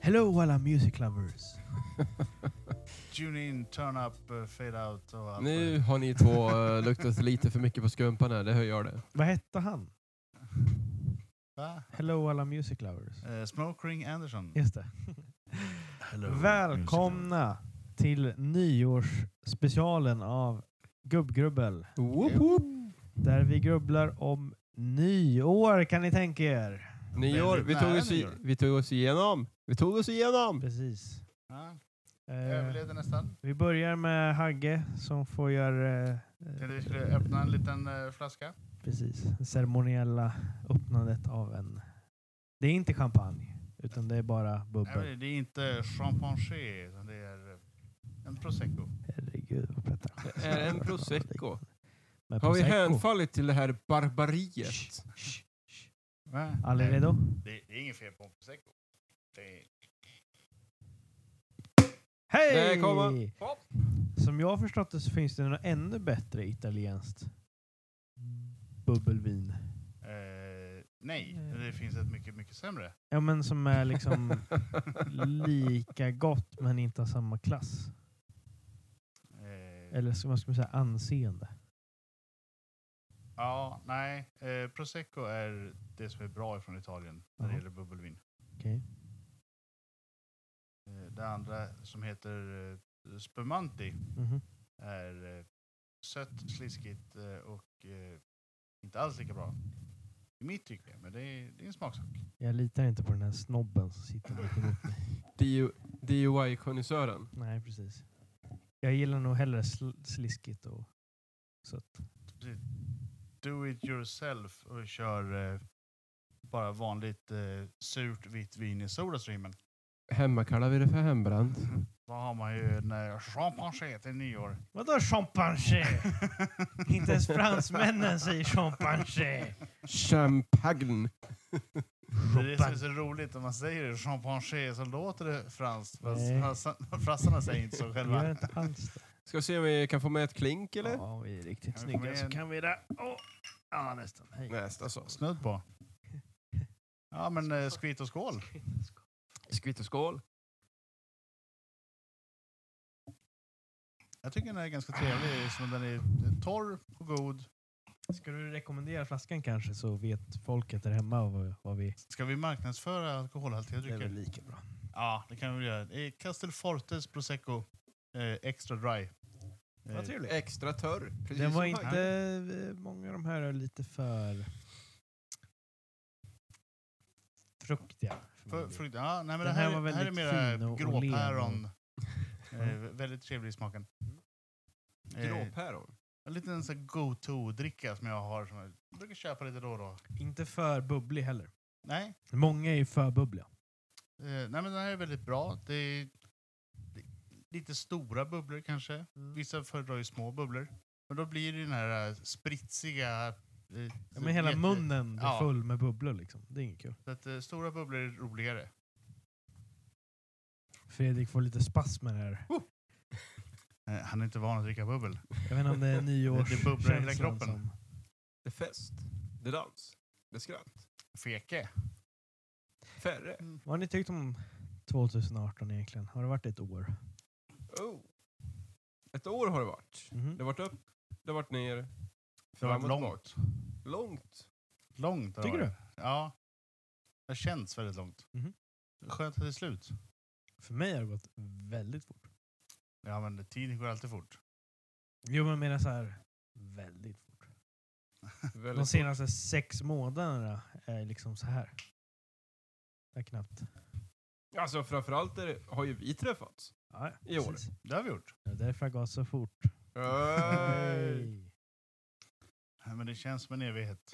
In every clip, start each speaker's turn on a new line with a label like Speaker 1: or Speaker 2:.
Speaker 1: Hello alla music lovers.
Speaker 2: Tune in, turn up, eh, fade out och allt.
Speaker 3: Nu har ni två eh, luktat lite för mycket på skumpan här, det hör jag det.
Speaker 1: Vad hette han?
Speaker 2: Va?
Speaker 1: Hello alla music lovers.
Speaker 2: Eh, Smoke Ring Anderson.
Speaker 1: Just det.
Speaker 2: Hello,
Speaker 1: Välkomna till nyårsspecialen av Gubbgrubbel.
Speaker 3: Woop, woop.
Speaker 1: Där vi grubblar om nyår kan ni tänka er.
Speaker 3: Nyår, vi tog, oss i, vi tog oss igenom. Vi tog oss igenom!
Speaker 1: Precis.
Speaker 2: music. Ja, jag
Speaker 1: Eh,
Speaker 2: överlevde nästan.
Speaker 1: vi börjar med Hagge som får göra eh,
Speaker 2: Tänkte vi skulle öppna en liten eh, flaska.
Speaker 1: precis, det ceremoniella öppnandet av en... Det är inte champagne, utan det är bara
Speaker 2: Nej,
Speaker 1: bubbel.
Speaker 2: men det är inte champagne, utan det är eh, en prosecco.
Speaker 1: Herregud vad pretentiöst.
Speaker 3: Det är en prosecco.
Speaker 1: Med
Speaker 3: Har vi
Speaker 1: prosecco.
Speaker 3: hänfallit till det här barbariet?
Speaker 2: Va?
Speaker 1: Alla är
Speaker 2: Nej,
Speaker 1: redo?
Speaker 2: det, det är inget fel på en prosecco. Det är,
Speaker 1: Hej!
Speaker 3: Där kom han.
Speaker 1: Som jag har förstått det så finns det något ännu bättre italienskt bubbelvin.
Speaker 2: eh, nej, det finns ett mycket, mycket sämre.
Speaker 1: Ja men som är liksom lika gott men inte av samma klass.
Speaker 2: Eh,
Speaker 1: Eller som man skulle säga anseende.
Speaker 2: ja, nej. Eh, prosecco är det som är bra från Italien när det
Speaker 1: Jaha.
Speaker 2: gäller bubbelvin.
Speaker 1: Okej.
Speaker 2: Eh, det andra som heter eh, spumanti
Speaker 1: Mhm.
Speaker 2: är eh, sött, sliskigt eh, och eh, inte alls lika bra. I mitt tycke, men det är, det är en smaksak.
Speaker 1: Jag litar inte på den här snobben som sitter mitt emot mig.
Speaker 3: DIY-konnässören.
Speaker 1: Nej precis. Jag gillar nog hellre sl- sliskigt och sött.
Speaker 2: Precis. Do it yourself och kör eh, bara vanligt eh, surt vitt vin i Sodastreamen.
Speaker 3: Hemma kallar vi det för hembränt.
Speaker 2: Då har man ju en eh, champagne till nyår.
Speaker 1: Vadå champagne? inte ens fransmännen säger champagne.
Speaker 3: Champagne.
Speaker 2: Det är det som är så roligt, om man säger champagne så låter det franskt.
Speaker 1: Nej.
Speaker 2: fast Frassarna, frassarna säger inte så
Speaker 1: Vi gör
Speaker 2: själva.
Speaker 1: inte alls det.
Speaker 3: Ska se om vi kan få med ett klink eller?
Speaker 1: Ja, vi är riktigt
Speaker 2: Kan vi få
Speaker 1: snygga
Speaker 2: med
Speaker 1: så
Speaker 2: en?
Speaker 1: kan vi det. Åh, Ja, nästan. Hej.
Speaker 3: Nästa så.
Speaker 2: Snudd på. Ja men eh, skvitt och skål.
Speaker 3: Skvitt och skål.
Speaker 2: Jag tycker den är ganska trevlig. Som den är torr och god.
Speaker 1: Ska du rekommendera flaskan kanske så vet folket där hemma vad, vad vi...
Speaker 2: Ska vi marknadsföra alkoholhaltiga
Speaker 1: Det är väl
Speaker 2: drycker?
Speaker 1: lika bra.
Speaker 2: Ja, det kan vi väl göra. Det är Castelfortes Prosecco eh, Extra Dry. Eh,
Speaker 1: Vad trevligt.
Speaker 3: Extra törr. Precis
Speaker 1: Den var
Speaker 3: som
Speaker 1: inte...
Speaker 3: Hagge.
Speaker 1: eh, Många av de här är lite för... Fruktiga. för
Speaker 2: för,
Speaker 1: min
Speaker 2: för, ja, nej, men det
Speaker 1: Den
Speaker 2: här,
Speaker 1: här var
Speaker 2: här är
Speaker 1: väldigt fin
Speaker 2: mera
Speaker 1: och- och len och-
Speaker 2: gråpäron. Eh,
Speaker 1: Mm.
Speaker 2: väldigt trevlig i smaken. Eh,
Speaker 3: Gråpäron.
Speaker 2: en liten sån här go-to-dricka som jag har. Som jag brukar köpa lite då och då.
Speaker 1: del. Inte för bubblig heller.
Speaker 2: Nej,
Speaker 1: Många är ju för bubbliga.
Speaker 2: eh, nej men den här är väldigt bra. Det är det- lite stora bubblor kanske. Vissa föredrar ju små bubblor. Men då blir det den här eh, spritsiga... eh,
Speaker 1: Ja, men hela
Speaker 2: jätte-
Speaker 1: munnen blir
Speaker 2: Ja.
Speaker 1: full med bubblor liksom. Det är inget kul.
Speaker 2: Så att, eh, stora bubblor är roligare.
Speaker 1: Fredrik får lite spasmer här.
Speaker 2: Eh, han är inte van att dricka bubbel.
Speaker 1: Jag vet inte om det är
Speaker 2: bubblar i hela
Speaker 1: nyårskänslan
Speaker 2: kroppen.
Speaker 1: som...
Speaker 3: Det är fest. Det är dans. Det är skratt.
Speaker 2: Feke.
Speaker 3: Färre.
Speaker 1: Vad har ni tyckt om 2018 egentligen? Har det varit ett år?
Speaker 3: Oh. Ett år har det varit.
Speaker 1: Mhm.
Speaker 3: Det har varit upp, det har varit ner.
Speaker 2: Det har
Speaker 3: fram och
Speaker 2: varit långt.
Speaker 3: tillbaka. Långt.
Speaker 2: Långt har det
Speaker 1: Tycker du?
Speaker 2: varit. Ja. Det har känts väldigt långt.
Speaker 1: Mhm.
Speaker 2: Skönt att det är slut.
Speaker 1: För mig har det gått väldigt fort.
Speaker 2: Ja, men det- tiden går alltid fort.
Speaker 1: Jo, men jag menar så här, väldigt fort.
Speaker 3: Väldigt
Speaker 1: De senaste sex månaderna är liksom så här. Det är knappt.
Speaker 3: fort. Alltså framförallt är det, har ju vi träffats.
Speaker 1: Ja, ja,
Speaker 3: I år.
Speaker 1: precis.
Speaker 2: Det har vi gjort.
Speaker 1: Det är därför jag går så fort.
Speaker 3: Hey.
Speaker 1: Hej.
Speaker 2: Ja, Eh, Men det känns som en evighet.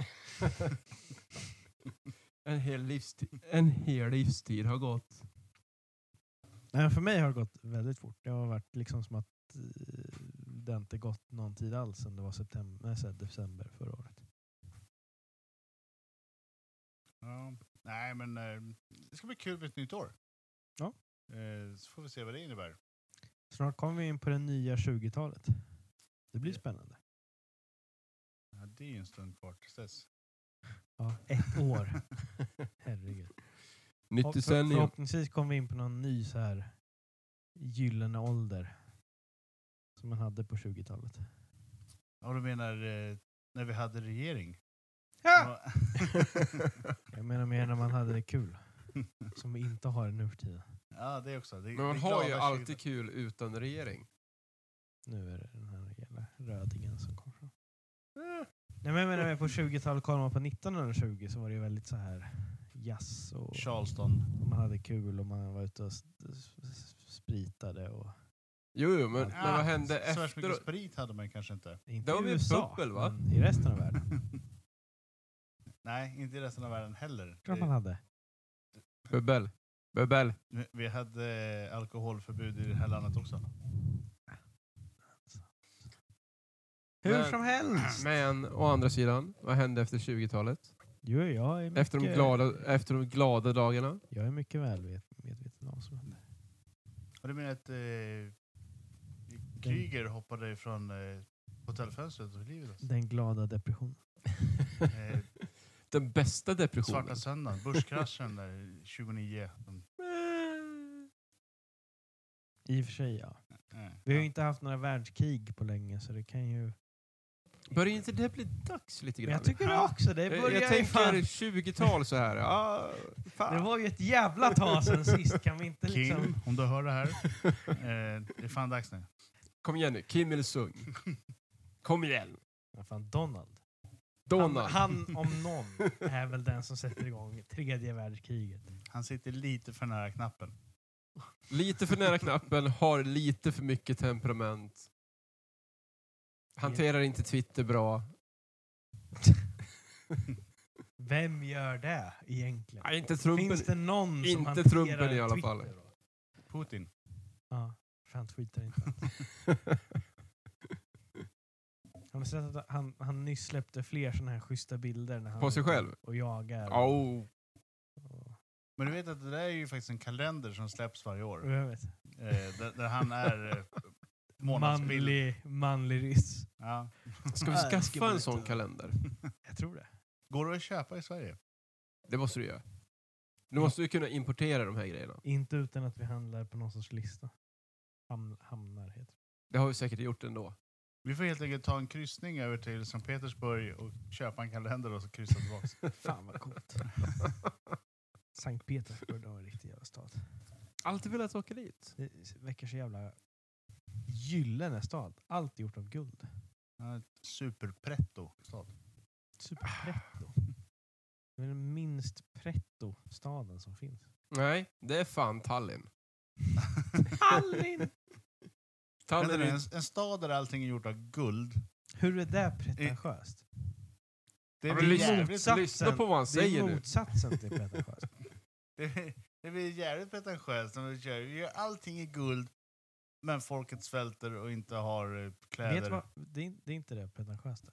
Speaker 3: en, hel livstid, en hel livstid har gått.
Speaker 1: Nej, men för mig har det gått väldigt fort. Det har varit liksom som att eh, det inte gått någon tid alls sedan det var september, nej, så här, december förra året.
Speaker 2: Ja. Nej, men eh, det ska bli kul med ett nytt år.
Speaker 1: Ja.
Speaker 2: Eh, så får vi se vad det innebär.
Speaker 1: Snart kommer vi in på det nya 20-talet. Det blir spännande.
Speaker 2: Ja, det är ju en stund kvar tills dess.
Speaker 1: Ja, ett år. Herregud.
Speaker 3: Nytt
Speaker 1: Hopp-
Speaker 3: decennium.
Speaker 1: Förhoppningsvis kommer vi in på någon ny så här gyllene ålder. Som man hade på 20-talet.
Speaker 2: Ja, du menar eh, när vi hade regering?
Speaker 1: Ja!
Speaker 2: Ja.
Speaker 1: Jag menar mer när man hade det kul. Som vi inte har nu för tiden.
Speaker 2: Ja, det också. Det,
Speaker 3: Men man
Speaker 2: det
Speaker 3: har ju
Speaker 2: glada
Speaker 3: alltid
Speaker 2: kylen.
Speaker 3: kul utan regering.
Speaker 1: Nu är det den här jävla rödingen som kommer fram. Nej men jag menar mer på 20-talet, kollar man på 1920 så var det ju väldigt så här jazz och
Speaker 2: Charleston.
Speaker 1: och man hade kul och man var ute och s- s- s- spritade och...
Speaker 3: Jo, jo men, men
Speaker 1: Ah,
Speaker 3: vad hände
Speaker 2: så värst mycket
Speaker 3: efteråt?
Speaker 2: sprit hade man kanske inte.
Speaker 1: Inte
Speaker 3: Det var
Speaker 1: i
Speaker 3: väl
Speaker 1: USA,
Speaker 3: bubbel, va?
Speaker 1: men i resten av världen.
Speaker 2: Nej, inte i resten av världen heller.
Speaker 1: Klart man hade.
Speaker 3: Bubbel. Bubbel.
Speaker 2: Vi- Vi hade eh, alkoholförbud i det här landet också.
Speaker 1: Hur
Speaker 3: Men-
Speaker 1: som helst!
Speaker 3: Men å andra sidan, vad hände efter 20-talet?
Speaker 1: Jo, jag är mycket,
Speaker 3: Efter de, glada, efter de glada dagarna?
Speaker 1: Jag är mycket väl vet- medveten om vad som hände.
Speaker 2: Och du menar att eh, Kryger hoppade från eh, hotellfönstret och livet? oss?
Speaker 1: Den glada depressionen.
Speaker 2: Eh,
Speaker 3: Den bästa depressionen.
Speaker 2: Svarta söndagen, börskraschen där 29. De,
Speaker 1: I och för sig, ja.
Speaker 2: eh,
Speaker 1: Vi har ju
Speaker 2: ja.
Speaker 1: inte haft några världskrig på länge så det kan ju...
Speaker 3: Börjar inte det bli dags lite
Speaker 1: Men
Speaker 3: grann?
Speaker 1: jag tycker det också. Det
Speaker 3: jag,
Speaker 1: börjar
Speaker 3: jag
Speaker 1: ju
Speaker 3: tänker
Speaker 1: fan...
Speaker 3: 20-tal så här. Ja, fan.
Speaker 1: Det var ju ett jävla tag sen sist. Kan vi inte liksom...
Speaker 2: Kim, om du hör det här, eh, det är fan dags nu.
Speaker 3: Kom igen nu, Kim Il-Sung. Kom igen.
Speaker 1: Ja, fan, Donald.
Speaker 3: Donald.
Speaker 1: Han, han om någon är väl den som sätter igång tredje världskriget.
Speaker 2: Han sitter lite för nära knappen.
Speaker 3: Lite för nära knappen, har lite för mycket temperament. Hanterar inte Twitter bra.
Speaker 1: Vem gör det egentligen?
Speaker 3: Nej, inte Trumpen.
Speaker 1: Finns det någon som
Speaker 3: inte
Speaker 1: hanterar
Speaker 3: Trumpen i alla
Speaker 1: Twitter
Speaker 3: fall.
Speaker 1: då?
Speaker 2: Putin.
Speaker 1: Ja, för han tweetar inte. Har ni sett att han, han nyss släppte fler såna här schyssta bilder? När han
Speaker 3: På sig
Speaker 1: är ute
Speaker 3: själv?
Speaker 1: Och jagar.
Speaker 3: oh,
Speaker 1: Och,
Speaker 2: Men du vet att det där är ju faktiskt en kalender som släpps varje år.
Speaker 1: och jag vet.
Speaker 2: Eh, där, där han är eh, månadsbild.
Speaker 1: Manlig, manlig ryss.
Speaker 2: Ja.
Speaker 3: ska vi
Speaker 1: Nej, det ska
Speaker 3: skaffa
Speaker 1: bli
Speaker 3: en sån
Speaker 1: lite-
Speaker 3: kalender?
Speaker 1: Jag tror det.
Speaker 2: Går det att köpa i Sverige?
Speaker 3: Det måste du göra. Du måste ju kunna importera de här grejerna.
Speaker 1: Inte utan att vi handlar på någon sorts lista. Ham, hamnar heter det.
Speaker 3: Det har vi säkert gjort ändå.
Speaker 2: Vi får helt enkelt ta en kryssning över till Sankt Petersburg och köpa en kalender och så kryssa tillbaka.
Speaker 1: Fan vad coolt. Sankt Petersburg, det var en riktig jävla stad.
Speaker 3: Alltid velat åka dit.
Speaker 1: Det verkar så jävla gyllene stad. Allt gjort av guld.
Speaker 2: Ja, ett Superpretto stad.
Speaker 1: Superpretto. Det är den minst pretto-staden som finns.
Speaker 3: Nej, det är fan Tallinn.
Speaker 1: Tallinn!
Speaker 2: Vänta
Speaker 3: Tallinn
Speaker 2: nu,
Speaker 3: är
Speaker 2: en, en stad där allting är gjort av guld.
Speaker 1: Hur är det pretentiöst?
Speaker 2: Det
Speaker 3: Ja,
Speaker 2: är
Speaker 3: men liksom
Speaker 2: väl
Speaker 3: lyssna-
Speaker 2: jävligt,
Speaker 1: motsatsen.
Speaker 3: Lyssna på vad han
Speaker 1: Det
Speaker 3: säger
Speaker 1: är
Speaker 3: nu.
Speaker 1: motsatsen till pretentiöst.
Speaker 2: det, det blir jävligt pretentiöst när vi kör. Vi gör allting i guld, men folket svälter och inte har eh, kläder.
Speaker 1: Vet du vad? Det är, det är inte det pretentiösta.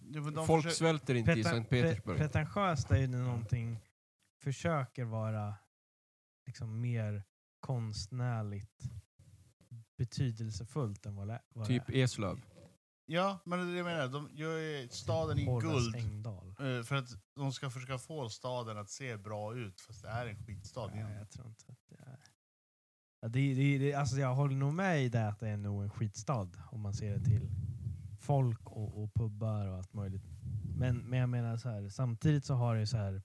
Speaker 2: Jo, men de
Speaker 3: Folk
Speaker 2: försöker-
Speaker 3: svälter inte i
Speaker 1: Preten-
Speaker 3: Sankt
Speaker 1: pre-
Speaker 3: Petersburg.
Speaker 1: Pretentiöst är ju när någonting försöker vara liksom mer konstnärligt betydelsefullt än vad det vad
Speaker 3: typ
Speaker 1: det
Speaker 3: Eslöv.
Speaker 2: Ja, men det är det jag menar. De gör ju staden i
Speaker 1: är. Horace
Speaker 2: guld
Speaker 1: Engdahl.
Speaker 2: eh, för att de ska försöka få staden att se bra ut, fast det är en skitstad.
Speaker 1: Nej,
Speaker 2: egentligen.
Speaker 1: jag tror inte att det är... Ja, det, det, det, alltså jag håller nog med i det att det är nog en skitstad om man ser det till folk och, och pubbar och allt möjligt. Men, men jag menar så här, samtidigt så har det ju så här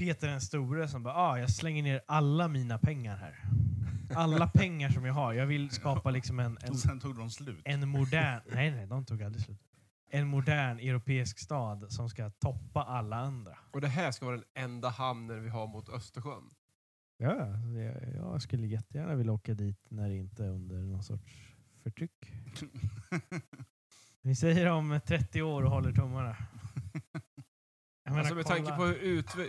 Speaker 1: Peter den store som bara ah, jag slänger ner alla mina pengar här. Alla pengar som jag har. Jag vill skapa liksom en, en,
Speaker 2: Och sen tog de slut.
Speaker 1: en modern... Nej, nej, de tog aldrig slut. En modern europeisk stad som ska toppa alla andra.
Speaker 3: Och det här ska vara den enda hamnen vi har mot Östersjön.
Speaker 1: Ja, jag, jag skulle jättegärna vilja åka dit när det inte är under någon sorts förtryck. Vi säger om 30 år och håller tummarna. Jag menar,
Speaker 3: Alltså med tanke på hur, utve-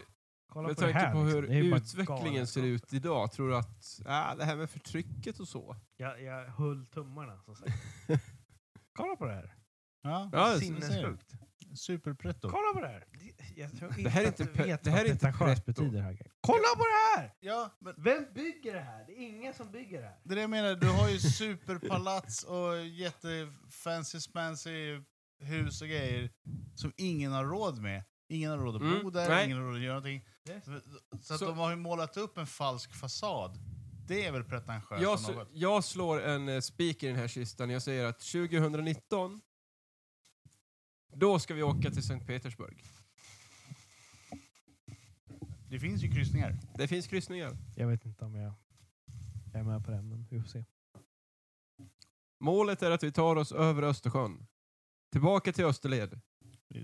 Speaker 1: kolla
Speaker 3: med
Speaker 1: på det
Speaker 3: tanke
Speaker 1: här,
Speaker 3: på
Speaker 1: liksom.
Speaker 3: hur
Speaker 1: Det är ju bara
Speaker 3: utvecklingen ser
Speaker 1: galenskap.
Speaker 3: ut idag, tror du att äh, det här med förtrycket och så?
Speaker 1: Jag, jag höll tummarna, som sagt. kolla på det här.
Speaker 2: Ja,
Speaker 3: Ja, det-
Speaker 1: Sinnessjukt.
Speaker 2: Superpretto.
Speaker 1: Kolla på det här. Det- Jag tror inte
Speaker 3: Det här är
Speaker 1: att
Speaker 3: inte
Speaker 1: du
Speaker 3: pe-
Speaker 1: vet
Speaker 3: det här
Speaker 1: vad
Speaker 3: är inte
Speaker 1: pretentiöst
Speaker 3: pretto.
Speaker 1: betyder. Här. Kolla på det här!
Speaker 2: Ja, men
Speaker 1: Vem bygger det här? Det är ingen som bygger det här.
Speaker 2: Det är det jag menar, du har ju superpalats och jättefancy spancy hus och grejer som ingen har råd med. Ingen har råd att
Speaker 3: Mm,
Speaker 2: bo där,
Speaker 3: nej.
Speaker 2: ingen har råd att göra någonting. Så, så att
Speaker 3: Så-
Speaker 2: de har ju målat upp en falsk fasad. Det är väl pretentiöst
Speaker 3: Jag,
Speaker 2: om
Speaker 3: sl-
Speaker 2: något.
Speaker 3: jag slår en eh, spik i den här kistan. Jag säger att 2019, då ska vi åka till Sankt Petersburg.
Speaker 2: Det finns ju kryssningar.
Speaker 3: Det finns kryssningar.
Speaker 1: Jag vet inte om jag jag är med på det, men vi får se.
Speaker 3: Målet är att vi tar oss över Östersjön. Tillbaka till Österled.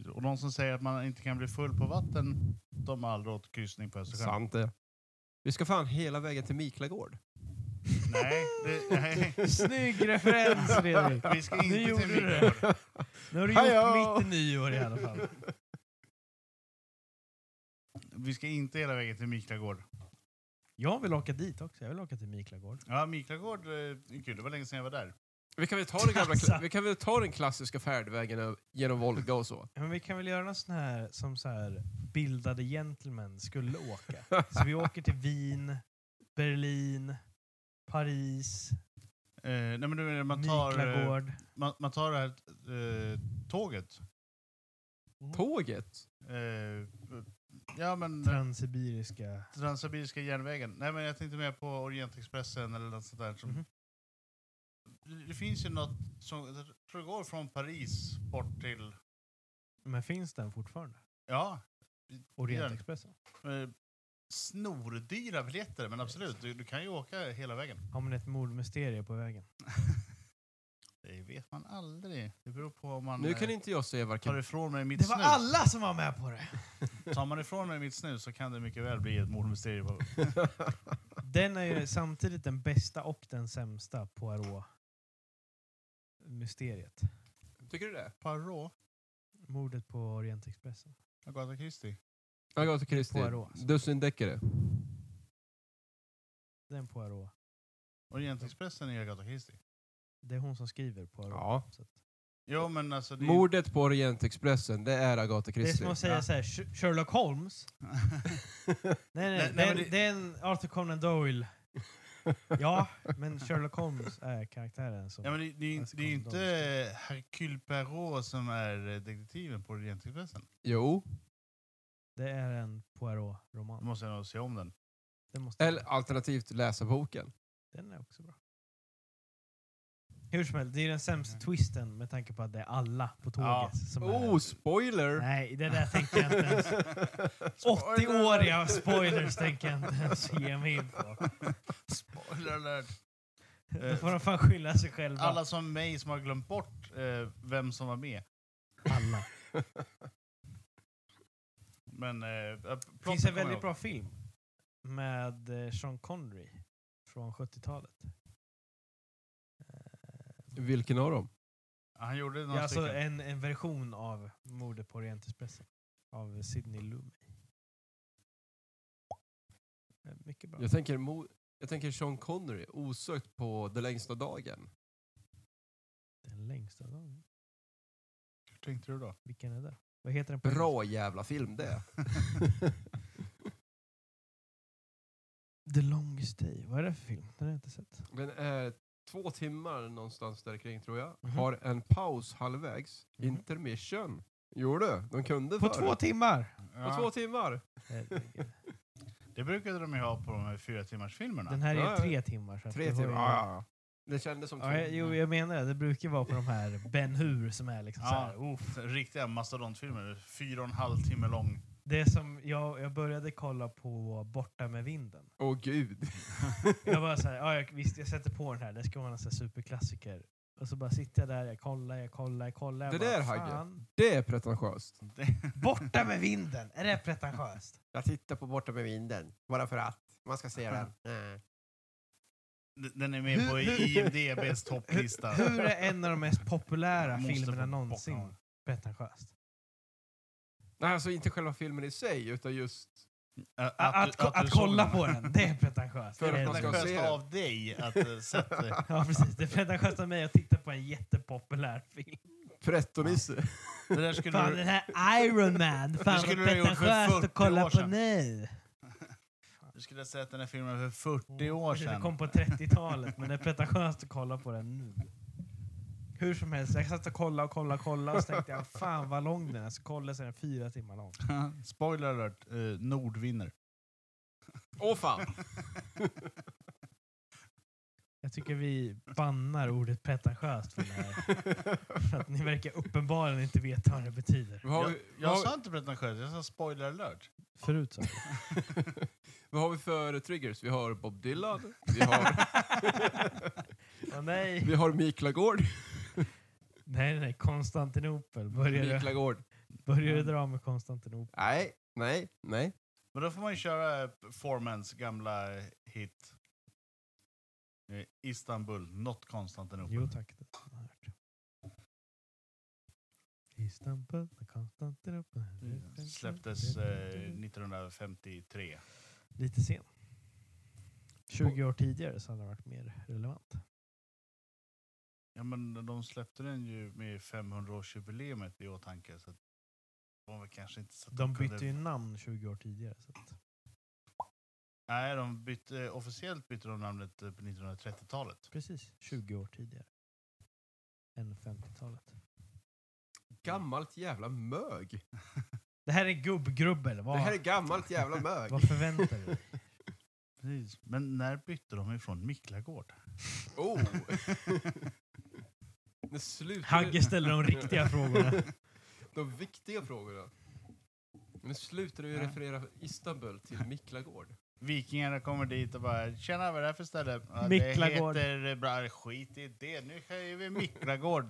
Speaker 2: Och de som säger att man inte kan bli full på vatten, de har aldrig åkt kryssning på Östersjön.
Speaker 3: Sant det. Vi ska fan hela vägen till Miklagård.
Speaker 2: Nej, det, nej.
Speaker 1: Snygg referens Fredrik!
Speaker 2: Vi ska
Speaker 1: Nu
Speaker 2: inte
Speaker 1: gjorde
Speaker 2: till
Speaker 1: du
Speaker 2: Miklagård.
Speaker 1: Nu har du
Speaker 3: Hallå.
Speaker 1: gjort mitt nyår i alla fall.
Speaker 2: Vi ska inte hela vägen till Miklagård.
Speaker 1: Jag vill åka dit också. Jag vill åka till Miklagård.
Speaker 2: Ja, Miklagård eh, är kul. Det var länge sedan jag var där.
Speaker 3: Vi kan väl ta, den gamla,
Speaker 1: Alltså.
Speaker 3: vi kan väl ta den klassiska färdvägen ö- genom Volga och så.
Speaker 1: Men vi kan väl göra något sån här som så här bildade gentlemän skulle åka. Så vi åker till Wien, Berlin, Paris,
Speaker 2: Eh, nej, men du menar, man tar, eh,
Speaker 1: Miklagård.
Speaker 2: man, man tar det här eh, tåget.
Speaker 3: Tåget?
Speaker 2: Eh, ja, men eh,
Speaker 1: Transsibiriska.
Speaker 2: Transsibiriska järnvägen. Nej, men jag tänkte mer på Orientexpressen eller något sånt där. Som,
Speaker 1: Mhm.
Speaker 2: det, det finns ju något som, jag tror det går från Paris bort till,
Speaker 1: Men finns den fortfarande?
Speaker 2: ja,
Speaker 1: Orientexpressen?
Speaker 2: eh, snordyra biljetter. Men absolut, du, du kan ju åka hela vägen.
Speaker 1: Har man ett mordmysterium på vägen?
Speaker 2: Det vet man aldrig. Det beror på om man
Speaker 3: Nu kan
Speaker 2: eh,
Speaker 3: inte jag säga
Speaker 2: tar
Speaker 3: varken...
Speaker 2: ifrån mig mitt
Speaker 1: Det var
Speaker 2: snus.
Speaker 1: alla som var med på det!
Speaker 2: Tar man ifrån mig mitt snus så kan det mycket väl bli ett mordmysterium. på-
Speaker 1: Den är ju samtidigt den bästa och den sämsta Poirot-mysteriet.
Speaker 3: Tycker du det?
Speaker 2: Poirot,
Speaker 1: Mordet på Orientexpressen.
Speaker 2: Agatha Christie.
Speaker 3: Agatha Christie.
Speaker 1: Poirot, alltså.
Speaker 3: Dussindäckare.
Speaker 1: Den Poirot.
Speaker 2: Orientexpressen är Agatha Christie.
Speaker 1: Det är hon som skriver Poirot.
Speaker 3: Ja.
Speaker 1: Så att-
Speaker 2: Jo, men alltså... Det är-
Speaker 3: Mordet på Orientexpressen, det är Agatha
Speaker 1: Det är
Speaker 3: Christie.
Speaker 1: som att säga
Speaker 2: Ja.
Speaker 1: så här, "Sh- Sherlock Holmes? Nej, nej,
Speaker 2: Nej, nej,
Speaker 1: den,
Speaker 2: men det-
Speaker 1: den Arthur Conan Doyle. Ja, men Sherlock Holmes är karaktären som...
Speaker 2: Ja, men det, det, är ju-
Speaker 1: Alltså,
Speaker 2: det är ju
Speaker 1: kondom.
Speaker 2: inte Hercule Perrault som är eh, detektiven på Orientexpressen.
Speaker 3: Jo.
Speaker 1: Det är en
Speaker 2: Då
Speaker 1: Poirot-roman.
Speaker 2: måste jag nog se om den.
Speaker 1: Den, måste
Speaker 3: Eller alternativt läsa boken.
Speaker 1: den är också bra. Hur som helst, det är den sämsta twisten med tanke på att det är alla på tåget
Speaker 2: Mm. Ja.
Speaker 1: som
Speaker 3: Oh,
Speaker 1: är...
Speaker 3: spoiler!
Speaker 1: Nej, det där tänker jag inte ens. 80-åriga spoilers tänker jag inte ens ge mig in på.
Speaker 2: Spoiler alert.
Speaker 1: Då får de fan skylla sig själva.
Speaker 2: Alla som mig som har glömt bort eh, vem som var med.
Speaker 1: alla.
Speaker 2: Men eh, ja,
Speaker 1: Det
Speaker 2: plotten
Speaker 1: finns en
Speaker 2: kommer jag
Speaker 1: väldigt
Speaker 2: ihåg.
Speaker 1: bra film med eh, Sean Connery från 70-talet.
Speaker 3: Vilken av dem?
Speaker 2: Han gjorde några
Speaker 1: Ja, alltså
Speaker 2: stycken.
Speaker 1: en, en version av Mordet på Orientexpressen av Sidney Lumet. Eh, Mycket bra.
Speaker 3: Jag tänker, mo- jag tänker Sean Connery, osökt på Den längsta dagen.
Speaker 1: Den längsta dagen. eh-
Speaker 2: Hur tänkte du då?
Speaker 1: Vilken är det? Vad heter den på engelska?
Speaker 3: Bra jävla film det.
Speaker 1: The Longest Day. Vad är det för film? Den har jag inte sett.
Speaker 3: Den är eh, två timmar någonstans där kring tror jag.
Speaker 1: Mhm.
Speaker 3: Har en paus halvvägs.
Speaker 1: Mhm.
Speaker 3: Intermission. Jo du, de kunde
Speaker 1: På
Speaker 3: för
Speaker 1: två
Speaker 3: det.
Speaker 1: timmar! Eh,
Speaker 3: På
Speaker 2: Ja,
Speaker 3: två timmar.
Speaker 1: Herregud.
Speaker 2: det brukade de ju ha på de här fyra timmars filmerna.
Speaker 1: Den här är
Speaker 3: Ja,
Speaker 1: ju tre timmar. Så att
Speaker 3: Tre
Speaker 1: det var
Speaker 3: timmar.
Speaker 1: ju-
Speaker 3: Ja, ja, ja. Det kändes som två.
Speaker 1: Ja, jag- jo, jag menar det. Det brukar vara på de här Ben Hur som är liksom
Speaker 2: Ja.
Speaker 1: så här, oh,
Speaker 2: Riktiga mastodontfilmer. Fyra och en halv timme lång.
Speaker 1: Det som jag, jag började kolla på Borta med vinden.
Speaker 3: Åh gud.
Speaker 1: Jag bara såhär, ja jag, visst jag sätter på den här, det ska vara en sån här superklassiker. Och så bara sitter jag där, jag kollar, jag kollar, jag kollar. Jag
Speaker 3: Det
Speaker 1: bara,
Speaker 3: där, Hagge.
Speaker 1: fan.
Speaker 3: Det är pretentiöst.
Speaker 1: Borta med vinden! Är det pretentiöst?
Speaker 3: Jag tittar på Borta med vinden. Bara för att. Man ska se den. Nej.
Speaker 2: D- Den är med
Speaker 1: Hur-
Speaker 2: på
Speaker 1: hur-
Speaker 2: IMDBs topplista.
Speaker 1: Hur är en av de mest populära
Speaker 2: Måste
Speaker 1: filmerna
Speaker 2: få
Speaker 1: någonsin
Speaker 2: bocka.
Speaker 1: pretentiöst?
Speaker 3: Nej, alltså inte själva filmen i sig, utan just...
Speaker 2: Ä-
Speaker 1: Att,
Speaker 2: du-
Speaker 1: att, ko-
Speaker 2: du
Speaker 1: att
Speaker 2: såg
Speaker 1: kolla
Speaker 2: den.
Speaker 1: på den, det är pretentiöst.
Speaker 3: För
Speaker 1: Det är
Speaker 3: att man
Speaker 1: det.
Speaker 3: ska- se
Speaker 2: pretentiöst
Speaker 3: den.
Speaker 2: av dig att eh, sätta dig.
Speaker 1: Ja precis, det är pretentiöst av mig att titta på en jättepopulär film.
Speaker 3: Pretto-Nisse.
Speaker 2: Det där skulle
Speaker 1: Fan
Speaker 2: du...
Speaker 1: den här Iron Man, fan vad
Speaker 2: skulle du ha gjort för
Speaker 1: pretentiöst
Speaker 2: 40
Speaker 1: att kolla
Speaker 2: år
Speaker 1: på
Speaker 2: sedan.
Speaker 1: nu.
Speaker 2: Du skulle ha sett den här filmen för 40 år
Speaker 1: Precis,
Speaker 2: sedan.
Speaker 1: Den kom på 30-talet, men det är pretentiöst att kolla på den nu. Hur som helst, jag satt och kollade och kollade och kollade och så tänkte jag fan vad lång den är. Så kollade jag så är den fyra timmar lång.
Speaker 2: Spoiler alert, eh, Nord vinner.
Speaker 3: Åh fan!
Speaker 1: Jag tycker vi bannar ordet pretentiöst för det här. För att ni verkar uppenbarligen inte veta vad det betyder.
Speaker 3: Vad har,
Speaker 2: jag
Speaker 3: vi, vad,
Speaker 2: jag
Speaker 3: har,
Speaker 2: sa inte pretentiöst, jag sa spoiler alert.
Speaker 1: Förut så.
Speaker 3: vad har vi för triggers? Vi har Bob Dylan, vi har,
Speaker 1: Åh, nej.
Speaker 3: vi har Mikla Gård.
Speaker 1: nej, nej, Konstantinopel. Börjar du,
Speaker 3: Mikla Gård.
Speaker 1: börjar du dra med Konstantinopel?
Speaker 3: Nej, nej, nej.
Speaker 2: Men då får man ju köra eh, Formans gamla hit. Eh, Istanbul, not Konstantinopel.
Speaker 1: Jo tack, det har jag hört. Istanbul, Konstantinopel.
Speaker 2: Mm. Släpptes eh, 1953.
Speaker 1: Lite sen. 20 år tidigare så hade det varit mer relevant.
Speaker 2: Ja, men de släppte den ju med 500-årsjubileet i åtanke. Så att de var väl kanske inte så att
Speaker 1: De
Speaker 2: kunde-
Speaker 1: bytte ju namn 20 år tidigare. Så att.
Speaker 2: Nej, de bytte, eh, officiellt bytte de namnet eh, på 1930-talet.
Speaker 1: Precis, 20 år tidigare. Än 50-talet.
Speaker 3: Gammalt jävla mög.
Speaker 1: Det här är gubbgrubbel. Vad,
Speaker 3: Det här är gammalt jävla mög.
Speaker 1: vad förväntar du dig?
Speaker 2: Precis. Men när bytte de ifrån Miklagård?
Speaker 3: Oh! Nu slutar
Speaker 1: Hagge
Speaker 3: det,
Speaker 1: ställer de riktiga frågorna.
Speaker 3: de viktiga frågorna. Nu slutar du ju
Speaker 2: Nej.
Speaker 3: referera Istanbul till Miklagård.
Speaker 2: Vikingarna kommer dit och bara “Tjena, vad är det här för ställe?” ja,
Speaker 1: Miklagård.
Speaker 2: “Det heter eh, bra, skit i det, nu kör vi Miklagård.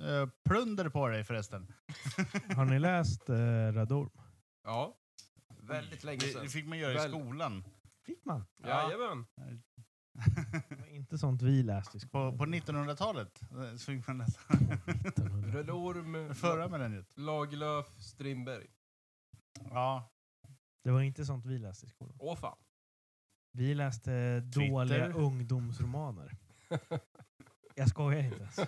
Speaker 2: Eh, Plunder på dig förresten.”
Speaker 1: Har ni läst eh, Radorm?
Speaker 3: Ja. Väldigt länge
Speaker 2: det,
Speaker 3: sedan.
Speaker 2: det fick man göra
Speaker 3: Väl-
Speaker 2: i skolan.
Speaker 1: Fick man?
Speaker 3: Jajamän.
Speaker 1: Det var inte sånt vi läste i
Speaker 2: På,
Speaker 1: skolan.
Speaker 2: på 1900-talet eh, så fick man läsa
Speaker 1: 1900.
Speaker 3: Röd Orm,
Speaker 2: förra millenniet.
Speaker 3: Lagerlöf, Strindberg.
Speaker 2: Ja,
Speaker 1: Det var inte sånt vi läste i skolan.
Speaker 3: Åh fan.
Speaker 1: Vi läste
Speaker 2: Twitter.
Speaker 1: dåliga ungdomsromaner. Jag skojar inte ens.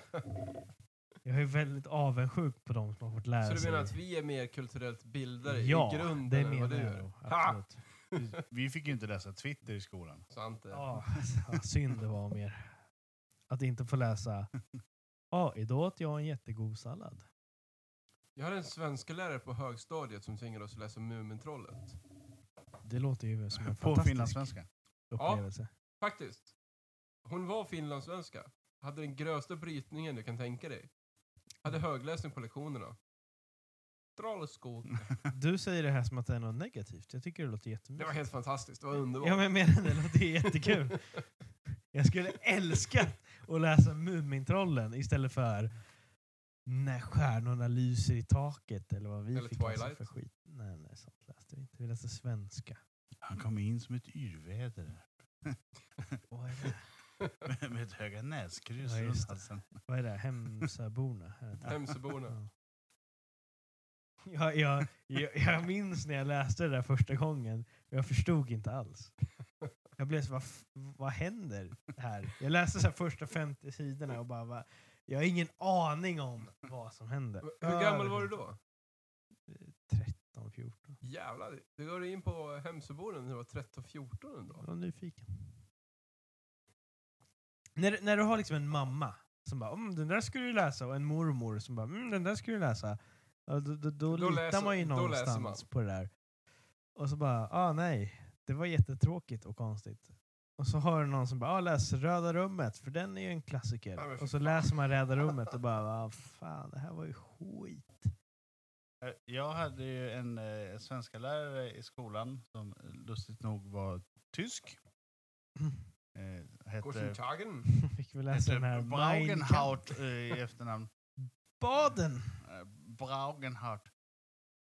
Speaker 1: Jag är väldigt avundsjuk på de som har fått lära
Speaker 3: Så du
Speaker 1: sig.
Speaker 3: menar att vi är mer kulturellt bildade
Speaker 1: ja,
Speaker 3: i grunden
Speaker 1: det
Speaker 3: än vad
Speaker 1: menar
Speaker 3: du
Speaker 1: jag
Speaker 3: är?
Speaker 1: nog. Absolut.
Speaker 2: vi fick ju inte läsa Twitter i skolan.
Speaker 3: Svante.
Speaker 1: Ja, vad synd det var om er. Att inte få läsa. Ja, idag åt jag en jättegod sallad.
Speaker 3: Jag hade en svenska lärare på högstadiet som tvingade oss att läsa Mumintrollet.
Speaker 1: Det låter ju som en
Speaker 2: På
Speaker 1: fantastisk
Speaker 2: finlandssvenska.
Speaker 1: upplevelse.
Speaker 3: Faktiskt. Hon var finlandssvenska. Hade den grövsta brytningen du kan tänka dig. Hade högläsning på lektionerna. Trollskog.
Speaker 1: Du säger det här som att det är något negativt. Jag tycker det låter
Speaker 3: Det var
Speaker 1: jättemysigt.
Speaker 3: helt fantastiskt. Det var underbart.
Speaker 1: Ja, men jag menar det låter ju jättekul. Jag skulle älska att läsa Mumintrollen istället för När stjärnorna lyser i taket eller vad vi
Speaker 3: Eller
Speaker 1: fick läsa
Speaker 3: Twilight.
Speaker 1: för skit. Nej, nej, sånt läste vi inte. Vi läste svenska.
Speaker 2: Han kom in som ett yrväder.
Speaker 1: Vad är det?
Speaker 2: med, med ett höga näskryss
Speaker 1: Ja, just
Speaker 2: runt
Speaker 1: det.
Speaker 2: halsen.
Speaker 1: Vad är det? Hemsaborna? Är det inte?
Speaker 3: Hemsöborna.
Speaker 1: Jag, jag, jag, jag minns när jag läste det där första gången, och jag förstod inte alls. Jag blev så vad, f- vad händer här? Jag läste så här första 50 sidorna och bara, va, jag har ingen aning om vad som händer.
Speaker 3: Hur gammal var du då?
Speaker 1: 13, 14.
Speaker 3: Jävlar, du går in på Hemsöborna när du var 13-14 ändå.
Speaker 1: Jag var nyfiken. När, när du har liksom en mamma som bara, mm, den där skulle du läsa, och en mormor som bara, mm, den där skulle du läsa. Ja, då, då, då,
Speaker 3: Då
Speaker 1: litar
Speaker 3: läser-
Speaker 1: man ju
Speaker 3: då läser
Speaker 1: någonstans
Speaker 3: man.
Speaker 1: på det där. Och så bara, ah nej, det var jättetråkigt och konstigt. Och så hör du någon som bara, ah, läs Röda rummet, för den är ju en klassiker.
Speaker 3: Ja, men för
Speaker 1: och så läser man Röda rummet och bara, ah, fan det här var ju skit.
Speaker 2: Eh, Jag hade ju en eh, svenska lärare i skolan som eh, lustigt nog var tysk. Eh, hette,
Speaker 3: Guten Tagen.
Speaker 1: Fick vi läsa den här
Speaker 2: hette
Speaker 1: Mein
Speaker 2: Braugenhaut eh, i efternamn.
Speaker 1: Baden.
Speaker 2: Eh, Braugenhaut.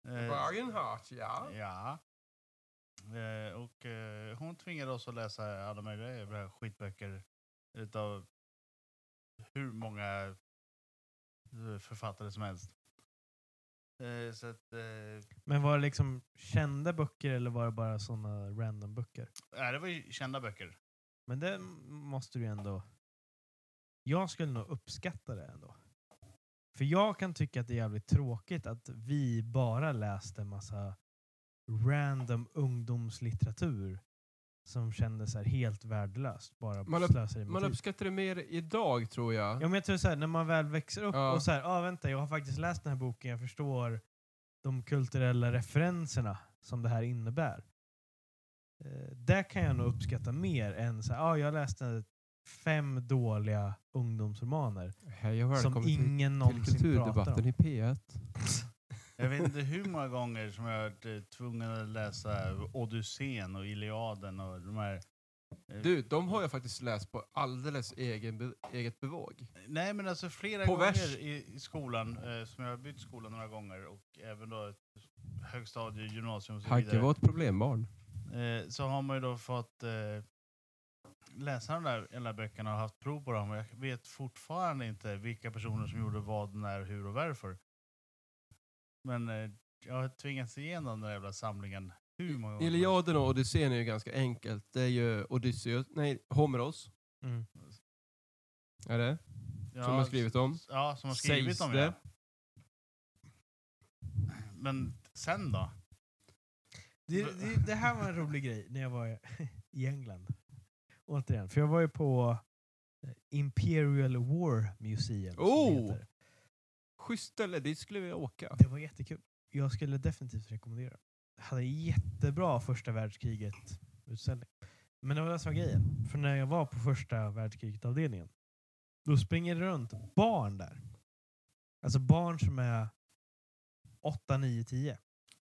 Speaker 2: Eh,
Speaker 3: Wagenhart, ja.
Speaker 2: Ja. Eh, och eh, hon tvingade oss att läsa alla möjliga jävla skitböcker utav hur många eh, författare som helst. Eh, så att, eh,
Speaker 1: Men var det liksom kända böcker eller var det bara såna random böcker?
Speaker 2: ja, det var ju kända böcker.
Speaker 1: Men det måste du ju ändå... Jag skulle nog uppskatta det ändå. För jag kan tycka att det är jävligt tråkigt att vi bara läste massa random ungdomslitteratur som kändes så här helt värdelöst. Bara
Speaker 3: Man upp-
Speaker 1: slösade med
Speaker 3: Man
Speaker 1: tid.
Speaker 3: uppskattar det mer idag tror jag.
Speaker 1: Ja, men jag tror så här, när man väl växer upp
Speaker 3: Ja.
Speaker 1: och så här, ah, vänta, jag har faktiskt läst den här boken, jag förstår de kulturella referenserna som det här innebär. Eh, det kan jag nog uppskatta mer än så här, ah, jag läste fem dåliga ungdomsromaner
Speaker 3: Hej och
Speaker 1: som
Speaker 3: välkommen till,
Speaker 1: ingen
Speaker 3: till
Speaker 1: någonsin pratar
Speaker 3: kulturdebatten
Speaker 1: om.
Speaker 3: i P1.
Speaker 2: Jag vet inte hur många gånger som jag har varit eh, tvungen att läsa Odysseen och Iliaden och de här... eh,
Speaker 3: Du, de har jag faktiskt läst på alldeles egen be, eget bevåg.
Speaker 2: Nej men alltså flera
Speaker 3: På
Speaker 2: gånger
Speaker 3: vers.
Speaker 2: i, i skolan, eh, som jag har bytt skola några gånger och även då ett högstadie, gymnasium och så
Speaker 3: Hacke
Speaker 2: vidare.
Speaker 3: var ett problembarn.
Speaker 2: Eh, så har man ju då fått eh, läsa de där jävla böckerna och haft prov på dem. Och Jag vet fortfarande inte vilka personer som gjorde vad, när, hur och varför. Men eh, jag har tvingats igenom den där jävla samlingen hur många gånger?
Speaker 3: Iliaden och Odysseen är ju ganska enkelt. Det är ju Odysseus, nej, Homeros
Speaker 1: Mm.
Speaker 3: är det,
Speaker 2: Ja,
Speaker 3: som har skrivit om.
Speaker 2: Ja, som har skrivit
Speaker 3: Sägs
Speaker 2: om
Speaker 3: det.
Speaker 2: det. Men sen då?
Speaker 1: Det, det, det här var en rolig grej när jag var i England. Återigen, för jag var ju på eh, Imperial War Museum. som det
Speaker 3: Oh!
Speaker 1: heter.
Speaker 3: Schysst ställe, dit skulle vi åka.
Speaker 1: Det var jättekul. Jag skulle definitivt rekommendera. det. Hade jättebra första världskriget utställning. Men det var det som var grejen. För när jag var på första världskriget avdelningen, då springer det runt barn där. Alltså barn som är 8, 9, 10.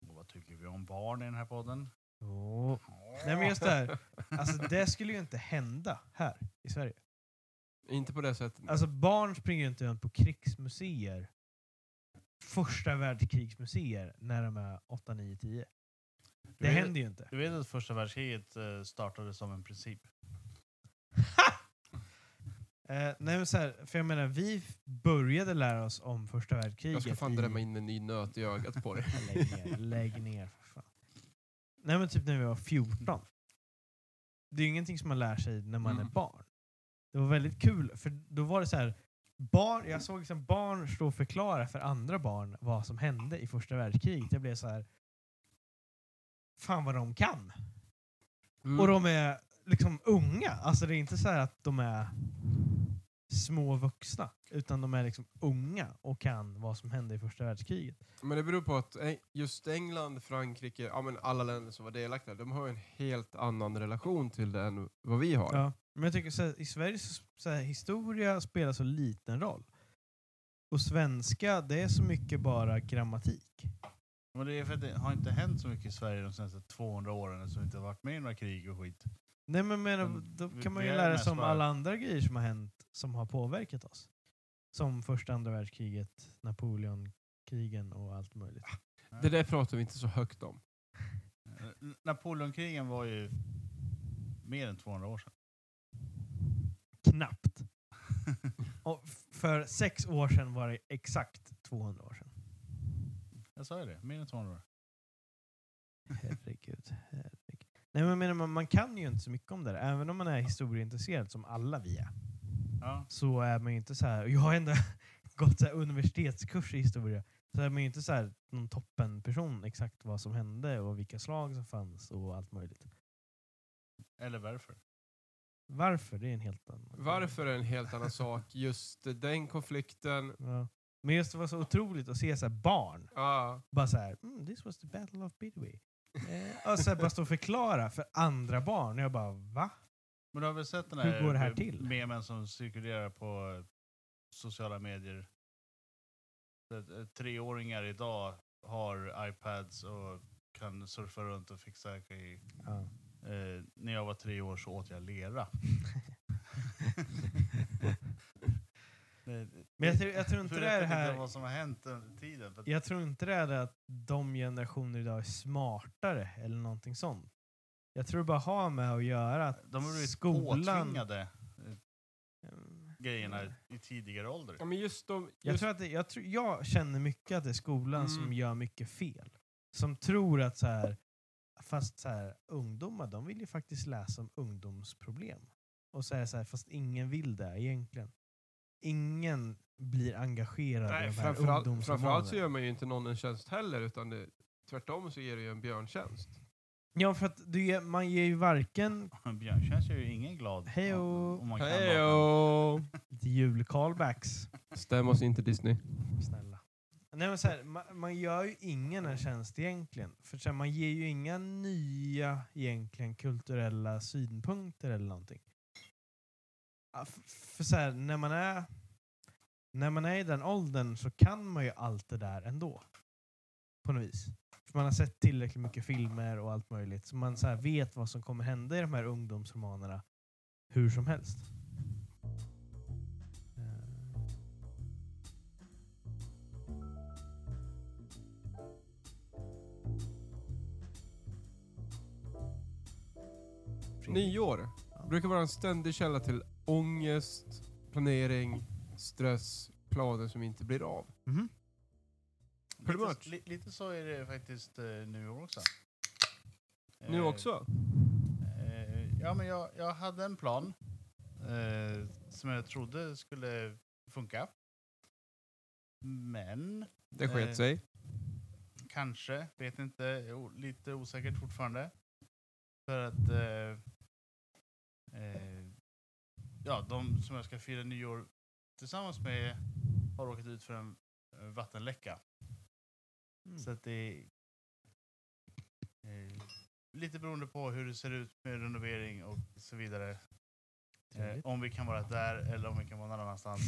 Speaker 2: Och vad tycker vi om barn i den här podden?
Speaker 1: Åh. Nej men just det här. Alltså det skulle ju inte hända här i Sverige.
Speaker 3: Inte på det sättet.
Speaker 1: Alltså barn springer ju inte runt på krigsmuseer. Första världskrigsmuseer när de är 8, 9, 10. Det
Speaker 2: vet-
Speaker 1: händer ju inte.
Speaker 2: Du vet att första världskriget eh, startade som en princip?
Speaker 1: Eh, nej men så här, för jag menar, vi f- började lära oss om första världskriget.
Speaker 3: jag ska fan
Speaker 1: i-
Speaker 3: drämma in en ny nöt i ögat på dig.
Speaker 1: Lägg ner, lägg ner för fan. Nej men typ när vi var 14. Det är ju ingenting som man lär sig när man
Speaker 3: Mm.
Speaker 1: är barn. Det var väldigt kul, för då var det så här, barn, jag såg liksom barn stå och förklara för andra barn vad som hände i första världskriget. Jag blev så här, fan vad de kan.
Speaker 3: Mm.
Speaker 1: Och de är liksom unga. Alltså det är inte så här att de är små vuxna, utan de är liksom unga och kan vad som hände i första världskriget.
Speaker 3: Men det beror på att eh, just England, Frankrike, ja men alla länder som var delaktiga, de har ju en helt annan relation till det än vad vi har.
Speaker 1: Ja. Men jag tycker så här, i Sverige så, så här, historia spelar så liten roll. Och svenska, det är så mycket bara grammatik.
Speaker 2: Men det är för att det har inte hänt så mycket i Sverige de senaste 200 åren som inte har varit med i några krig och skit.
Speaker 1: Nej men, men
Speaker 2: Mm.
Speaker 1: då
Speaker 2: Vi-
Speaker 1: kan man
Speaker 2: vi
Speaker 1: ju
Speaker 2: är
Speaker 1: lära
Speaker 2: mest
Speaker 1: sig om
Speaker 2: bara-
Speaker 1: alla andra grejer som har hänt som har påverkat oss. Som första andra världskriget, Napoleonkrigen och allt möjligt.
Speaker 2: Ah,
Speaker 3: Det där pratar vi inte så högt om.
Speaker 2: Eh, Napoleonkrigen var ju mer än 200 år sedan.
Speaker 1: Knappt. Och f- för sex år sedan var det exakt 200 år sedan.
Speaker 2: Jag sa ju det, mer än 200 år.
Speaker 1: Herregud. herregud. Nej, men jag menar, man, man kan ju inte så mycket om det där. Även om man är historieintresserad, som alla vi är,
Speaker 2: Ja.
Speaker 1: så är man ju inte så här... Jag har ändå gått så här universitetskurs i historia. Så är man ju inte så här någon toppenperson exakt vad som hände och vilka slag som fanns och allt möjligt.
Speaker 2: Eller varför?
Speaker 1: Varför? Det är en helt annan fråga.
Speaker 3: Varför är en helt annan sak? Just den konflikten,
Speaker 1: Ja. Men just det var så otroligt att se så här barn
Speaker 3: ja.
Speaker 1: bara så här, mm, this was the battle of Midway. Eh, och så här, bara stå och förklara för andra barn. Och jag bara, va?
Speaker 2: Men du har väl sett den
Speaker 1: Hur
Speaker 2: här,
Speaker 1: går det här
Speaker 2: eh,
Speaker 1: till?
Speaker 2: memen som cirkulerar på eh, sociala medier? Att, eh, Treåringar idag har iPads och kan surfa runt och fixa grejer.
Speaker 1: Ja.
Speaker 2: Eh, när jag var tre år så åt jag lera. Eh,
Speaker 1: Men jag tror, jag tror inte
Speaker 2: För
Speaker 1: det är det
Speaker 2: vet inte
Speaker 1: här...
Speaker 2: vad som har hänt under tiden. För att
Speaker 1: Jag tror inte det är det att de generationer idag är smartare eller någonting sånt. Jag tror det bara har med att göra att
Speaker 2: de har blivit
Speaker 1: skolan...
Speaker 2: påtvingade
Speaker 1: Mm.
Speaker 2: grejerna i tidigare ålder.
Speaker 3: ja men just de... Just,
Speaker 1: Jag, tror att det, jag, tror, jag känner mycket att det är skolan som
Speaker 3: Mm.
Speaker 1: gör mycket fel. Som tror att så här, fast så här, ungdomar de vill ju faktiskt läsa om ungdomsproblem. Och så är det så här, fast ingen vill det egentligen. Ingen blir engagerad i
Speaker 3: nej,
Speaker 1: de här
Speaker 3: framförallt, framförallt så
Speaker 1: ungdomsromanerna.
Speaker 3: gör man ju inte någon en tjänst heller, utan det, tvärtom så ger det ju en björntjänst.
Speaker 1: Ja, för att du, ger- man ger ju varken
Speaker 2: Björn känns ju ingen glad.
Speaker 1: Hejo.
Speaker 2: om- om man kan låta.
Speaker 3: Hejo!
Speaker 1: jul-callbacks.
Speaker 3: Stäm oss inte Disney.
Speaker 1: Snälla. Nej, men så här, man, man gör ju ingen en tjänst egentligen. För så här, man ger ju inga nya egentligen kulturella synpunkter eller någonting. Ja, f- För så här, när man är när man är i den åldern så kan man ju allt det där ändå. På något vis. För man har sett tillräckligt mycket filmer och allt möjligt. Så man så här vet vad som kommer hända i de här ungdomsromanerna hur som helst. Eh.
Speaker 3: Nyår brukar vara en ständig källa till ångest, planering, stress, planer som inte blir av.
Speaker 1: Mhm.
Speaker 3: Pretty
Speaker 2: Lite-
Speaker 3: much.
Speaker 2: li- Lite så är det faktiskt eh, nu också.
Speaker 3: Nu
Speaker 2: Eh,
Speaker 3: också.
Speaker 2: Eh, ja, men jag, jag hade en plan eh, som jag trodde skulle funka. Men
Speaker 3: Det
Speaker 2: eh,
Speaker 3: sket sig.
Speaker 2: kanske, vet inte, o- lite osäkert fortfarande. För att eh, eh, ja, de som jag ska fira nyår tillsammans med har råkat ut för en eh, vattenläcka. Så att det är eh, lite beroende på hur det ser ut med renovering och så vidare. Eh,
Speaker 1: Trevligt.
Speaker 2: om vi kan vara där eller om vi kan vara någon annanstans.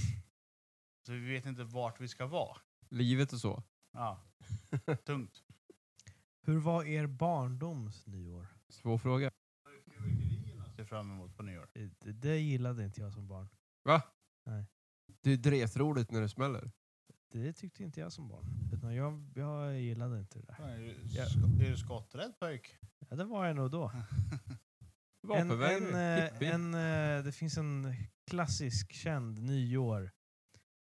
Speaker 2: Så vi vet inte vart vi ska vara.
Speaker 3: Livet och så.
Speaker 2: Ja, tungt.
Speaker 1: Hur var er barndoms nyår?
Speaker 3: Svår fråga.
Speaker 2: Ser fram emot på nyår.
Speaker 1: Det, det, det gillade inte jag som barn.
Speaker 3: Va?
Speaker 1: Nej.
Speaker 3: Det är dretroligt när det smäller.
Speaker 1: Det tyckte inte jag som barn. Utan jag, jag gillade inte det där.
Speaker 2: Fan, Är du,
Speaker 1: Ja.
Speaker 2: sk- är du skotträdd pöjk?
Speaker 1: Ja, det var jag nog då. En, en,
Speaker 3: Vapenvägrare.
Speaker 1: eh,
Speaker 3: hippie.
Speaker 1: en, eh, det finns en klassisk känd nyår.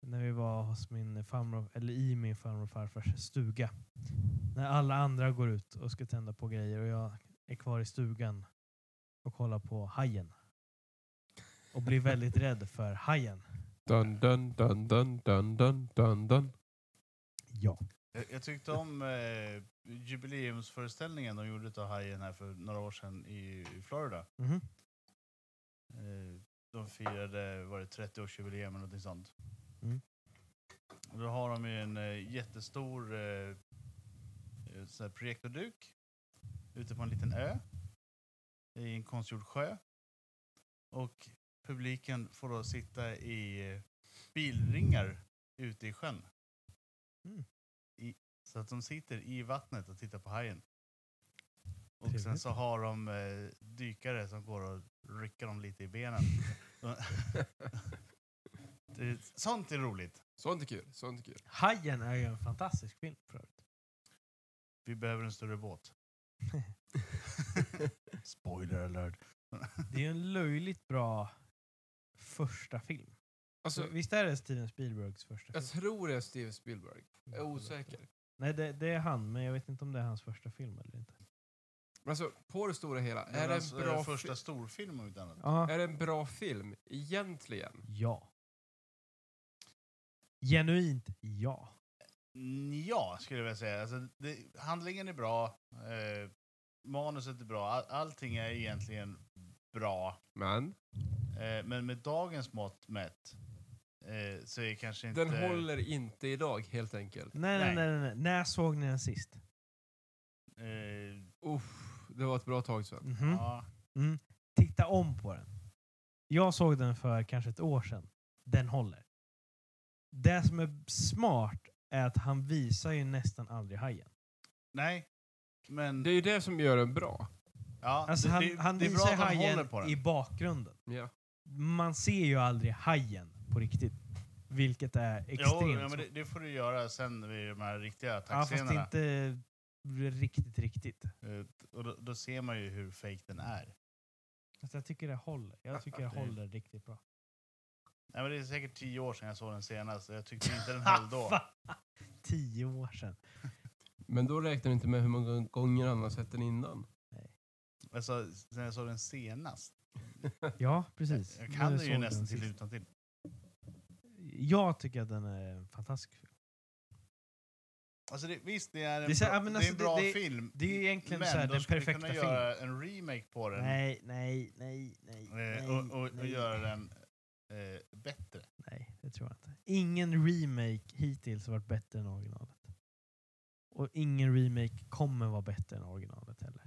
Speaker 1: När vi var hos min farmor, eller i min farmor och farfars stuga. När alla andra går ut och ska tända på grejer och jag är kvar i stugan och kollar på hajen. Och blir väldigt rädd för hajen.
Speaker 3: Dun, dun, dun, dun, dun, dun, dun, dun.
Speaker 1: Ja.
Speaker 2: Jag, jag tyckte om eh, jubileumsföreställningen de gjorde utav Hajen här för några år sedan i, i Florida.
Speaker 1: Mhm.
Speaker 2: Eh, De firade, var det 30-årsjubileum eller någonting sånt.
Speaker 1: Mm.
Speaker 2: Och då har de ju en eh, jättestor eh, eh, sån här projektorduk ute på en liten ö i en konstgjord sjö. Och publiken får då sitta i eh, bilringar ute i sjön.
Speaker 1: Mm.
Speaker 2: I, så att de sitter i vattnet och tittar på hajen. Och sen
Speaker 1: Trevligt.
Speaker 2: så har de eh, dykare som går och rycker dem lite i benen. Det, sånt är roligt.
Speaker 3: Sånt är kul. Sånt är kul.
Speaker 1: Hajen är ju en fantastisk film för övrigt.
Speaker 2: Vi behöver en större båt. Spoiler alert.
Speaker 1: Det är ju en löjligt bra första film.
Speaker 3: Alltså,
Speaker 1: Visst är det Steven Spielbergs första
Speaker 3: jag
Speaker 2: Alltså,
Speaker 1: film?
Speaker 3: tror det är Steven Spielberg. Jag är osäker.
Speaker 1: Nej, det, det är han, men jag vet inte om det är hans första film eller inte.
Speaker 3: Men Alltså, på det stora hela,
Speaker 2: Det är
Speaker 3: är det,
Speaker 2: hans
Speaker 3: en
Speaker 2: eh,
Speaker 3: bra
Speaker 2: första
Speaker 3: fi-
Speaker 2: storfilm om inte annat.
Speaker 1: Ja.
Speaker 3: är det en bra film egentligen?
Speaker 1: ja. Genuint ja.
Speaker 2: Mm, Ja, skulle jag vilja säga. Alltså, det, handlingen är bra. Eh, manuset är bra. All, allting är egentligen bra.
Speaker 3: Men
Speaker 2: Eh, men med dagens mått mätt eh, så är kanske inte...
Speaker 3: den håller inte idag helt enkelt.
Speaker 1: Nej, nej,
Speaker 2: Nej.
Speaker 1: nej. nej, nej. När såg ni den sist?
Speaker 2: Eh,
Speaker 3: Uff, det var ett bra tag sedan.
Speaker 1: Mhm.
Speaker 2: ja,
Speaker 1: Mm. Titta om på den. Jag såg den för kanske ett år sedan. Den håller. Det som är smart är att han visar ju nästan aldrig hajen.
Speaker 2: nej, men...
Speaker 3: Det är ju det som gör den bra.
Speaker 2: ja,
Speaker 1: Alltså
Speaker 2: det,
Speaker 1: han,
Speaker 2: det,
Speaker 1: han
Speaker 2: det är bra
Speaker 1: visar
Speaker 2: att han håller
Speaker 1: hajen
Speaker 2: på den.
Speaker 1: i bakgrunden.
Speaker 3: Ja.
Speaker 1: Man ser ju aldrig hajen på riktigt. Vilket är extremt
Speaker 2: Jo, ja, men
Speaker 1: svårt.
Speaker 2: det, det får du göra sen vid de här riktiga
Speaker 1: Ja, fast
Speaker 2: attackscenerna.
Speaker 1: inte riktigt, riktigt.
Speaker 2: Eh, och då, då ser man ju hur fake den är.
Speaker 1: Fast jag tycker det håller. Jag tycker det
Speaker 2: Det-
Speaker 1: håller riktigt bra.
Speaker 2: Nej, men det är säkert tio år sedan jag såg den senast och jag tyckte inte den höll då.
Speaker 1: Fan! Tio år sedan.
Speaker 3: Men då räknar du inte med hur många gånger han har sett den innan.
Speaker 2: Alltså, sen jag såg den senast.
Speaker 1: Ja, precis.
Speaker 2: Jag kan
Speaker 1: Nu
Speaker 2: den
Speaker 1: såg
Speaker 2: ju nästan
Speaker 1: den
Speaker 2: till
Speaker 1: sist.
Speaker 2: utantill.
Speaker 1: Jag tycker att den är en fantastisk film.
Speaker 2: Alltså det, visst, det är en
Speaker 1: Det är så-
Speaker 2: bra,
Speaker 1: ja, men
Speaker 2: det är
Speaker 1: alltså
Speaker 2: en
Speaker 1: det-
Speaker 2: bra
Speaker 1: det-
Speaker 2: film.
Speaker 1: det är ju egentligen
Speaker 2: men
Speaker 1: så här
Speaker 2: de
Speaker 1: den
Speaker 2: skulle
Speaker 1: perfekta
Speaker 2: kunna göra en remake på den.
Speaker 1: Nej, nej, nej, nej.
Speaker 2: eh,
Speaker 1: nej,
Speaker 2: och, och, och
Speaker 1: nej.
Speaker 2: göra den eh, bättre.
Speaker 1: Nej, det tror jag inte. Ingen remake hittills har varit bättre än originalet. Och ingen remake kommer vara bättre än originalet heller.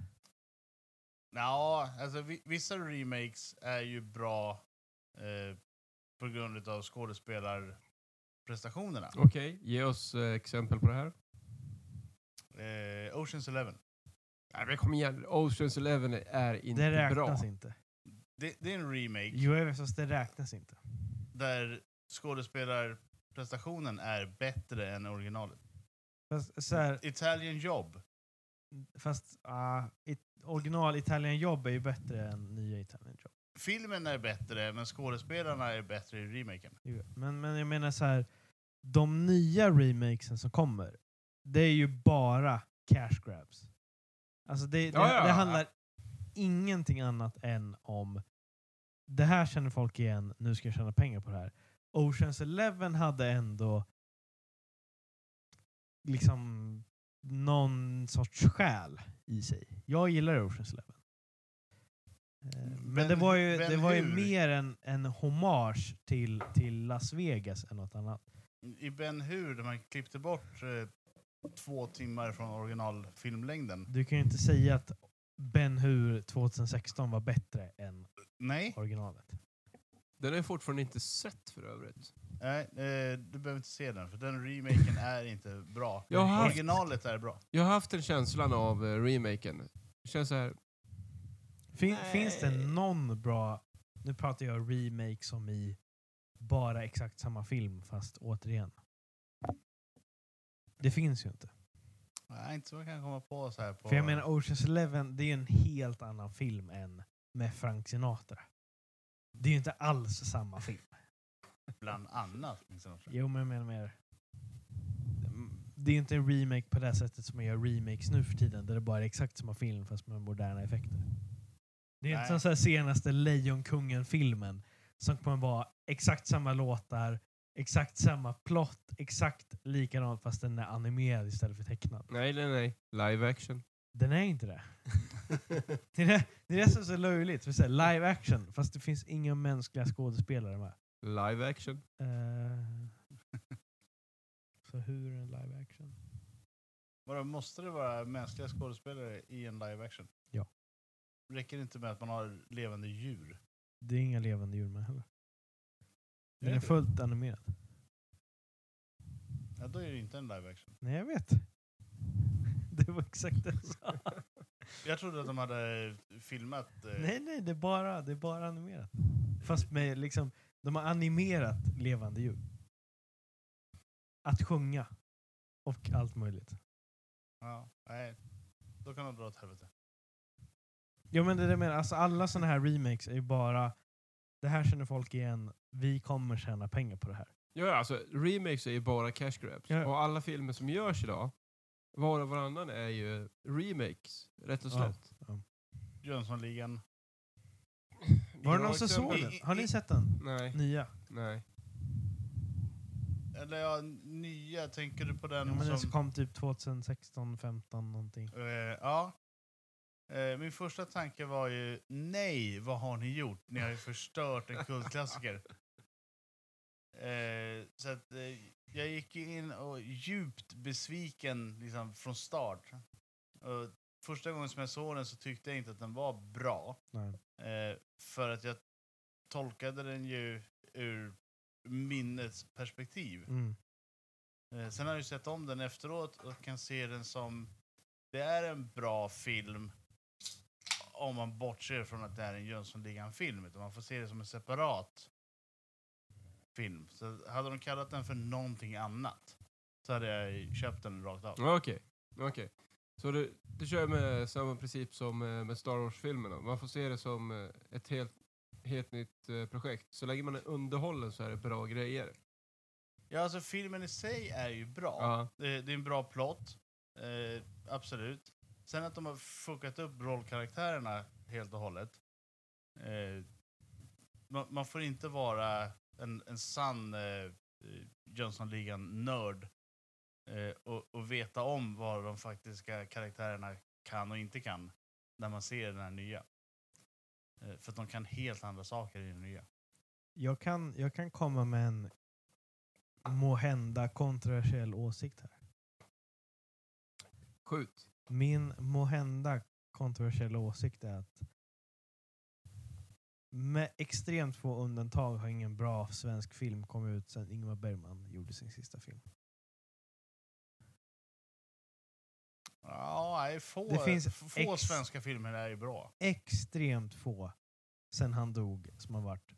Speaker 2: Ja, alltså vi, vissa remakes är ju bra eh, på grund av skådespelarprestationerna.
Speaker 3: Okej, ge oss eh, exempel på det här.
Speaker 2: Eh, Oceans Eleven.
Speaker 3: Nej, men kom igen, Oceans Eleven är inte
Speaker 1: det
Speaker 3: bra.
Speaker 1: räknas inte.
Speaker 2: Det, det är en remake
Speaker 1: Jo, jag vet, fast det räknas inte.
Speaker 2: där skådespelarprestationen är bättre än originalet.
Speaker 1: Fast, så här,
Speaker 2: Italian Job.
Speaker 1: fast ah, it, original Italian Job är ju bättre än nya Italian Job.
Speaker 2: Filmen är bättre, men skådespelarna är bättre i remaken.
Speaker 1: Jo, Men, men jag menar så här, de nya remakesen som kommer, det är ju bara cash grabs. Alltså det, det,
Speaker 3: Ja, ja,
Speaker 1: det
Speaker 3: ja.
Speaker 1: handlar ingenting annat än om det här känner folk igen, nu ska jag tjäna pengar på det här. Oceans Eleven hade ändå liksom någon sorts själ i sig. Jag gillar Oceans Eleven. Eh, Men,
Speaker 2: Ben-
Speaker 1: det var ju,
Speaker 2: Ben
Speaker 1: det var ju
Speaker 2: Hur.
Speaker 1: mer en, en hommage till, till Las Vegas än något annat.
Speaker 2: I Ben Hur, där man klippte bort eh, två timmar från originalfilmlängden.
Speaker 1: Du kan ju inte säga att Ben Hur 2016 var bättre än
Speaker 2: Nej,
Speaker 1: originalet.
Speaker 3: Den har jag fortfarande inte sett för övrigt.
Speaker 2: nej eh, du behöver inte se den, för den remaken är inte bra.
Speaker 3: Jag har haft,
Speaker 2: Originalet är bra.
Speaker 3: jag har haft en känslan av eh, remaken. Det känns så här,
Speaker 1: Fin, finns det
Speaker 3: Nej.
Speaker 1: någon bra, nu pratar jag remake som i bara exakt samma film fast återigen. Det finns ju inte.
Speaker 2: Nej, inte så jag kan komma på så här på...
Speaker 1: För jag menar Oceans Eleven, det är ju en helt annan film än med Frank Sinatra. Det är ju inte alls samma film.
Speaker 2: Bland annat. Liksom.
Speaker 1: Jo, men jag menar mer... Det är inte en remake på det här sättet som man gör remakes nu för tiden, där det bara är exakt samma film fast med moderna effekter. Det är
Speaker 2: Nej.
Speaker 1: inte som så här senaste Lejonkungen-filmen som kommer vara exakt samma låtar, exakt samma plott, exakt likadant fast den är animerad istället för tecknad.
Speaker 3: nej, nej, nej. Live action.
Speaker 1: Den är inte det. Det är det, det, är det som är så löjligt. För så här, live action, fast det finns inga mänskliga skådespelare med.
Speaker 3: Live action.
Speaker 1: Eh, så hur är en live action?
Speaker 2: Vadå, måste det vara mänskliga skådespelare i en live action?
Speaker 1: Ja.
Speaker 2: Räcker det inte med att man har levande djur?
Speaker 1: Det är inga levande djur med heller. Den
Speaker 2: Är
Speaker 1: är
Speaker 2: det?
Speaker 1: fullt animerad.
Speaker 2: Ja, då är det inte en live action.
Speaker 1: Nej, jag vet. Det var exakt det jag sa.
Speaker 2: Jag trodde att de hade filmat... eh,
Speaker 1: Nej, nej, det är, bara, det är bara animerat. Fast med liksom, de har animerat levande djur. Att sjunga. Och allt möjligt.
Speaker 2: Ja, nej. Då kan de dra åt helvete.
Speaker 1: Ja men det är det jag menar, alltså alla sådana här remakes är ju bara det här känner folk igen, vi kommer tjäna pengar på det här.
Speaker 3: Ja, ja, alltså remakes är ju bara cash grabs.
Speaker 1: Ja.
Speaker 3: Och alla filmer som görs idag, var och varannan är ju remakes, rätt och
Speaker 1: Ja.
Speaker 3: slätt.
Speaker 2: Jönssonligan.
Speaker 1: Var det
Speaker 3: Ja,
Speaker 1: någon som såg
Speaker 3: exempel-
Speaker 1: den? Har ni sett den?
Speaker 3: Nej,
Speaker 1: Nya?
Speaker 3: nej.
Speaker 2: Eller ja, nya. Tänker du på
Speaker 1: Ja,
Speaker 2: den
Speaker 1: men den
Speaker 2: som...
Speaker 1: som kom typ 2016, 15 någonting.
Speaker 2: Eh, ja. Eh, min första tanke var ju, nej, vad har ni gjort? Ni har ju förstört en kultklassiker. Eh, så att, eh, jag gick ju in och djupt besviken liksom, från start. Och första gången som jag såg den så tyckte jag inte att den var bra.
Speaker 1: Nej.
Speaker 2: Eh, för att jag tolkade den ju ur minnets perspektiv.
Speaker 1: Mm.
Speaker 2: Eh, Sen har jag ju sett om den efteråt och kan se den som... Det är en bra film om man bortser från att det är en Jönssonligan-film. Utan man får se det som en separat film. Så hade de kallat den för någonting annat så hade jag ju köpt den rakt av.
Speaker 3: Ja, Okej, okej. Så du, du kör med samma princip som eh, med Star Wars-filmerna. Man får se det som eh, ett helt, helt nytt eh, projekt. Så länge man är underhållen så är det bra grejer.
Speaker 2: Ja, alltså filmen i sig är ju bra.
Speaker 3: Ja.
Speaker 2: Det, det är en bra plott. Eh, absolut. Sen att de har fuckat upp rollkaraktärerna helt och hållet. Eh, man, man får inte vara en, en sann eh, Jönssonligan-nörd eh, och, och veta om vad de faktiska karaktärerna kan och inte kan när man ser den här nya. Eh, för att de kan helt andra saker i den nya.
Speaker 1: Jag kan, jag kan komma med en måhända kontroversiell åsikt här.
Speaker 3: Skjut.
Speaker 1: Min måhända kontroversiella åsikt är att med extremt få undantag har ingen bra svensk film kommit ut sedan Ingmar Bergman gjorde sin sista film.
Speaker 2: Ja, nej, få,
Speaker 1: Det finns
Speaker 2: f- få
Speaker 1: ex-
Speaker 2: svenska filmer är ju bra.
Speaker 1: Extremt få sen han dog som har varit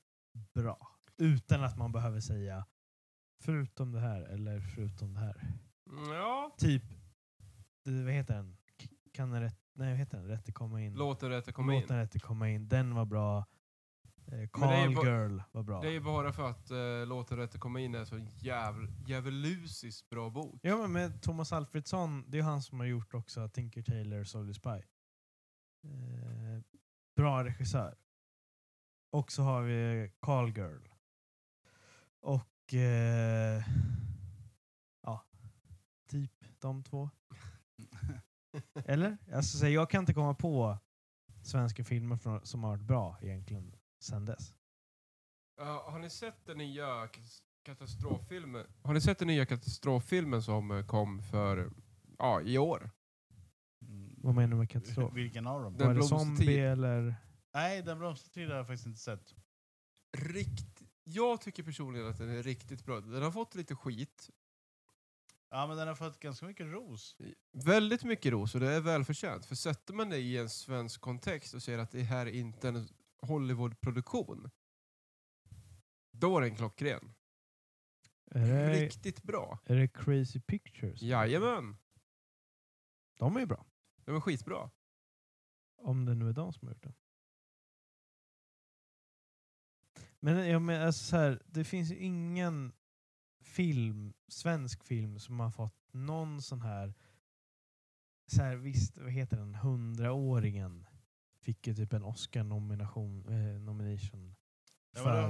Speaker 1: bra. Utan att man behöver säga förutom det här eller förutom det här.
Speaker 3: Mm, Ja,
Speaker 1: Typ, du, vad heter den? K- Kan den rätt, nej, vad heter den? Rätte komma in.
Speaker 3: låt det rätta komma
Speaker 1: Låt
Speaker 3: in.
Speaker 1: den inte komma in. Den var bra. Eh,
Speaker 3: det är
Speaker 1: Call
Speaker 3: ju ba-
Speaker 1: Girl var bra.
Speaker 3: Det är ju bara för att eh, Låt det rätta komma in är en så jävl, djävulusiskt bra bok.
Speaker 1: Ja, men med Thomas Alfredsson, det är ju han som har gjort också Tinker Tailor Soldier Spy. Eh, bra regissör. Och så har vi Call Girl. Och... Eh, ja, typ de två. Eller? Alltså, så här, jag kan inte komma på svenska filmer från, som har varit bra egentligen sen dess.
Speaker 3: Ja, har ni sett den nya kas- katastroffilmen? Har ni sett den nya katastroffilmen som eh, kom för ja, i år?
Speaker 2: Mm.
Speaker 1: Vad menar du med katastrof?
Speaker 2: Vilken av dem?
Speaker 3: Den
Speaker 1: Var det
Speaker 3: blomstertid.
Speaker 1: zombie eller?
Speaker 2: Nej, Den blomstertid har jag faktiskt inte sett.
Speaker 3: Rikt, jag tycker personligen att den är riktigt bra. Den har fått lite skit.
Speaker 2: Ja, men den har fått ganska mycket ros.
Speaker 3: Väldigt mycket ros och det är välförtjänt. För sätter man det i en svensk kontext och ser att det här inte är en Hollywoodproduktion. Då är den klockren.
Speaker 1: Är det,
Speaker 3: Riktigt bra.
Speaker 1: är det Crazy Pictures?
Speaker 3: Jajamän.
Speaker 1: De är ju bra.
Speaker 3: Den var skitbra.
Speaker 1: Om det nu är de som har gjort den. Men jag menar alltså så här, det finns ju ingen film, svensk film som har fått någon sån här, så här visst, vad heter den, hundraåringen fick ju typ en Oscar-nomination, eh, nomination.
Speaker 2: Ja, men det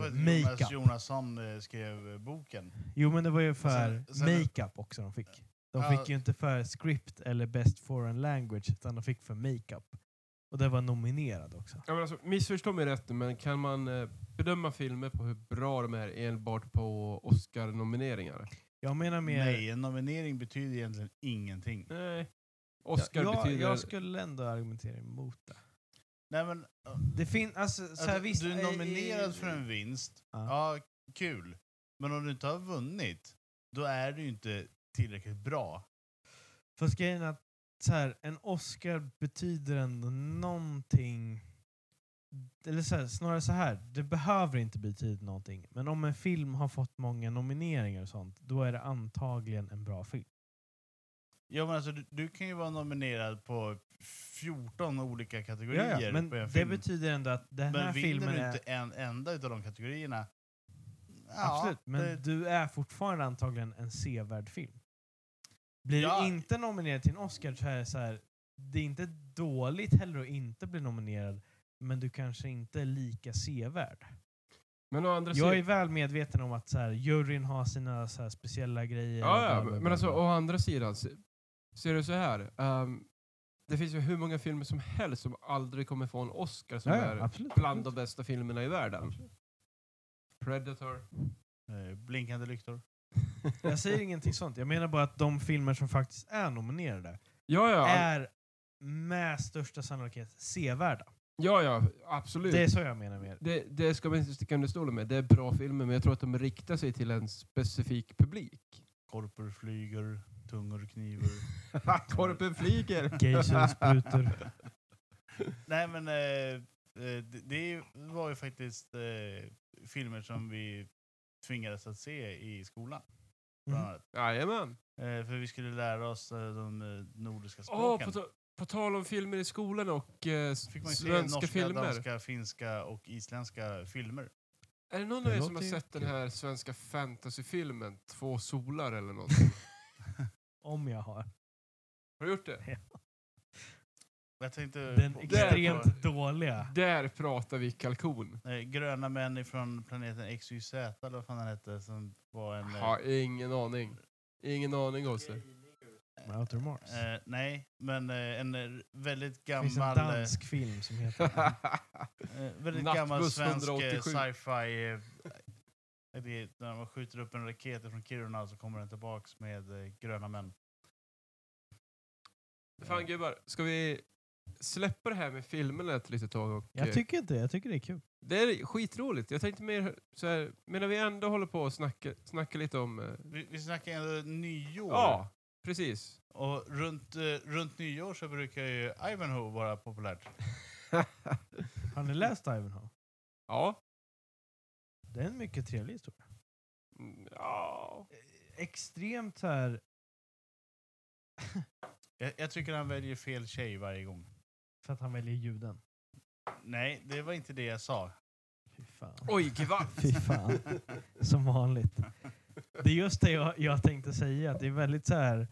Speaker 1: För
Speaker 2: var för att Jonas
Speaker 1: makeup.
Speaker 2: Jonasson eh, skrev eh, boken.
Speaker 1: Jo men det var ju för
Speaker 2: Sen- sen-
Speaker 1: makeup också de fick. De
Speaker 2: Ja.
Speaker 1: fick ju inte för script eller best foreign language, utan de fick för makeup. Och det var nominerad också.
Speaker 3: Ja, men alltså, missförstå mig rätt nu, men kan man eh, bedöma filmer på hur bra de är enbart på Oscar-nomineringar?
Speaker 1: Jag menar mer...
Speaker 2: Nej, en nominering betyder egentligen ingenting.
Speaker 3: Nej. Oscar
Speaker 1: jag,
Speaker 3: betyder...
Speaker 1: jag skulle ändå argumentera emot det.
Speaker 2: Nej, men,
Speaker 1: Det finns, alltså, så här,
Speaker 2: att
Speaker 1: visst,
Speaker 2: du är
Speaker 1: eh, eh,
Speaker 2: nominerad för en vinst. Ja, kul. Men om du inte har vunnit, då är du ju inte tillräckligt bra.
Speaker 1: Fast grejen är att så här, en Oscar betyder ändå någonting. Eller så här, snarare så här, det behöver inte betyda någonting. Men om en film har fått många nomineringar och sånt, då är det antagligen en bra film.
Speaker 2: Ja, men alltså, du, du kan ju vara nominerad på 14 olika kategorier
Speaker 1: Ja, ja, men
Speaker 2: på en
Speaker 1: det
Speaker 2: film.
Speaker 1: betyder ändå att den här
Speaker 2: men vinner
Speaker 1: filmen
Speaker 2: du
Speaker 1: är...
Speaker 2: inte en enda av de kategorierna, ja,
Speaker 1: Absolut, men
Speaker 2: det,
Speaker 1: du är fortfarande antagligen en sevärd film. Blir
Speaker 2: Ja.
Speaker 1: du inte nominerad till en Oscar så är det så här, det är inte dåligt heller att inte bli nominerad, men du kanske inte är lika sevärd.
Speaker 3: Men å andra
Speaker 1: Jag är
Speaker 3: sidan...
Speaker 1: väl medveten om att så här, juryn har sina så här, speciella grejer. och
Speaker 3: Ja,
Speaker 1: bla,
Speaker 3: ja,
Speaker 1: bla, bla,
Speaker 3: men alltså
Speaker 1: bla.
Speaker 3: å andra sidan, se- ser du så här. ehm, det finns ju hur många filmer som helst som aldrig kommer få en Oscar som
Speaker 1: ja,
Speaker 3: är
Speaker 1: ja, absolut.
Speaker 3: bland de bästa filmerna i världen.
Speaker 1: Absolut.
Speaker 3: Predator.
Speaker 2: eh, blinkande lyktor.
Speaker 1: Jag säger ingenting sånt. Jag menar bara att de filmer som faktiskt är nominerade
Speaker 3: Ja, ja. all-
Speaker 1: är med största sannolikhet sevärda.
Speaker 3: Ja, ja. Absolut.
Speaker 1: Det är så jag menar med det.
Speaker 3: Det, det ska man inte sticka under stolen med. Det är bra filmer, men jag tror att de riktar sig till en specifik publik.
Speaker 2: Korpor flyger, tungor kniver.
Speaker 3: Korpen flyger!
Speaker 1: Geisers sprutor.
Speaker 2: Nej men eh, eh, det, det är ju- var ju faktiskt eh, filmer som vi tvingades att se i skolan. Bland
Speaker 1: Mhm.
Speaker 2: annat.
Speaker 3: Jajamän.
Speaker 2: Eh, för vi skulle lära oss eh, de eh, nordiska
Speaker 3: Åh,
Speaker 2: språken.
Speaker 3: på, ta- på tal om filmer i skolan och eh, s-
Speaker 2: Fick man ju se
Speaker 3: svenska
Speaker 2: norska,
Speaker 3: filmer.
Speaker 2: danska, finska och isländska filmer.
Speaker 3: Är det någon
Speaker 1: Det
Speaker 3: av er som har
Speaker 1: låter ju
Speaker 3: sett den
Speaker 1: kul.
Speaker 3: här svenska fantasyfilmen Två solar eller någonting?
Speaker 1: Om jag har.
Speaker 3: har du gjort det?
Speaker 2: Jag tänkte
Speaker 1: Den
Speaker 2: på- på,
Speaker 1: extremt dåliga.
Speaker 3: Där pratar vi kalkon.
Speaker 2: eh, gröna män från planeten XYZ eller vad fan den hette som var en... eh,
Speaker 3: Har ingen aning. Ingen aning Gosse.
Speaker 1: Outer Mars.
Speaker 2: Eh, nej, men eh, en eh, väldigt
Speaker 1: det finns
Speaker 2: gammal,
Speaker 1: en
Speaker 2: eh,
Speaker 1: dansk film som heter...
Speaker 2: eh, väldigt gammal
Speaker 3: Nattbuss
Speaker 2: svensk eh,
Speaker 3: 187.
Speaker 2: sci-fi. Eh, det är när man skjuter upp en raket från Kiruna så kommer den tillbaks med eh, gröna män.
Speaker 3: Fan gubbar, ska vi släppa det här med filmerna ett litet tag? Och, eh,
Speaker 1: jag tycker inte Jag tycker det är kul.
Speaker 3: det är skitroligt. Jag tänkte mer så här, medan vi ändå håller på och snacka, snacka lite om... eh,
Speaker 2: Vi, vi snackar ändå nyår.
Speaker 3: Ja, precis.
Speaker 2: Och runt, eh, runt nyår så brukar ju Ivanhoe vara populärt.
Speaker 1: Har ni läst Ivanhoe?
Speaker 3: Ja.
Speaker 1: Det är en mycket trevlig historia.
Speaker 3: Mm, ja.
Speaker 1: Eh, Extremt så här...
Speaker 2: Jag, jag tycker han väljer fel tjej varje gång.
Speaker 1: För att han väljer juden.
Speaker 2: Nej, det var inte det jag sa.
Speaker 1: Fy fan.
Speaker 3: Oj, gevall!
Speaker 1: Fy fan. Som vanligt. Det är just det jag, jag tänkte säga. Att det är väldigt så här...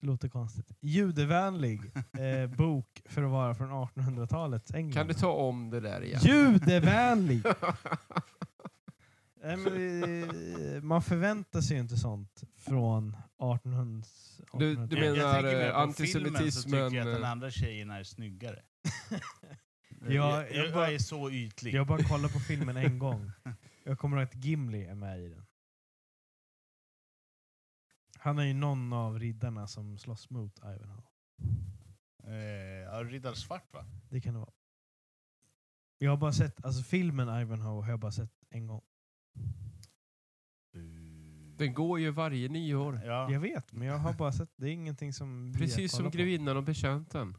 Speaker 1: Låter konstigt. Judevänlig eh, bok för att vara från 1800-talets England.
Speaker 3: Kan du ta om det där igen?
Speaker 1: Judevänlig! Nej, men, eh, man förväntar sig ju inte sånt från 1800
Speaker 3: Du- du
Speaker 1: 1800-talet.
Speaker 2: jag, jag tänker mer
Speaker 3: menar, eh,
Speaker 2: på filmen så
Speaker 3: antisemitismen,
Speaker 2: tycker jag att den
Speaker 3: eh,
Speaker 2: andra tjejen är snyggare.
Speaker 1: Ja,
Speaker 2: jag,
Speaker 1: jag
Speaker 2: jag,
Speaker 1: bara-
Speaker 2: är så ytlig.
Speaker 1: Jag har bara kollat på filmen en gång. Jag kommer ihåg att Gimli är med i den. Han är ju någon av riddarna som slåss mot Ivanhoe.
Speaker 2: Eh, ja, Riddar Svart va?
Speaker 1: Det kan det vara. Jag har bara sett, alltså filmen Ivanhoe har jag bara sett en gång.
Speaker 3: Den går ju varje nyår.
Speaker 2: Ja.
Speaker 1: Jag vet, men jag har bara sett, det är ingenting som vi har
Speaker 3: Precis som
Speaker 1: kollat på.
Speaker 3: grevinnan och betjänten.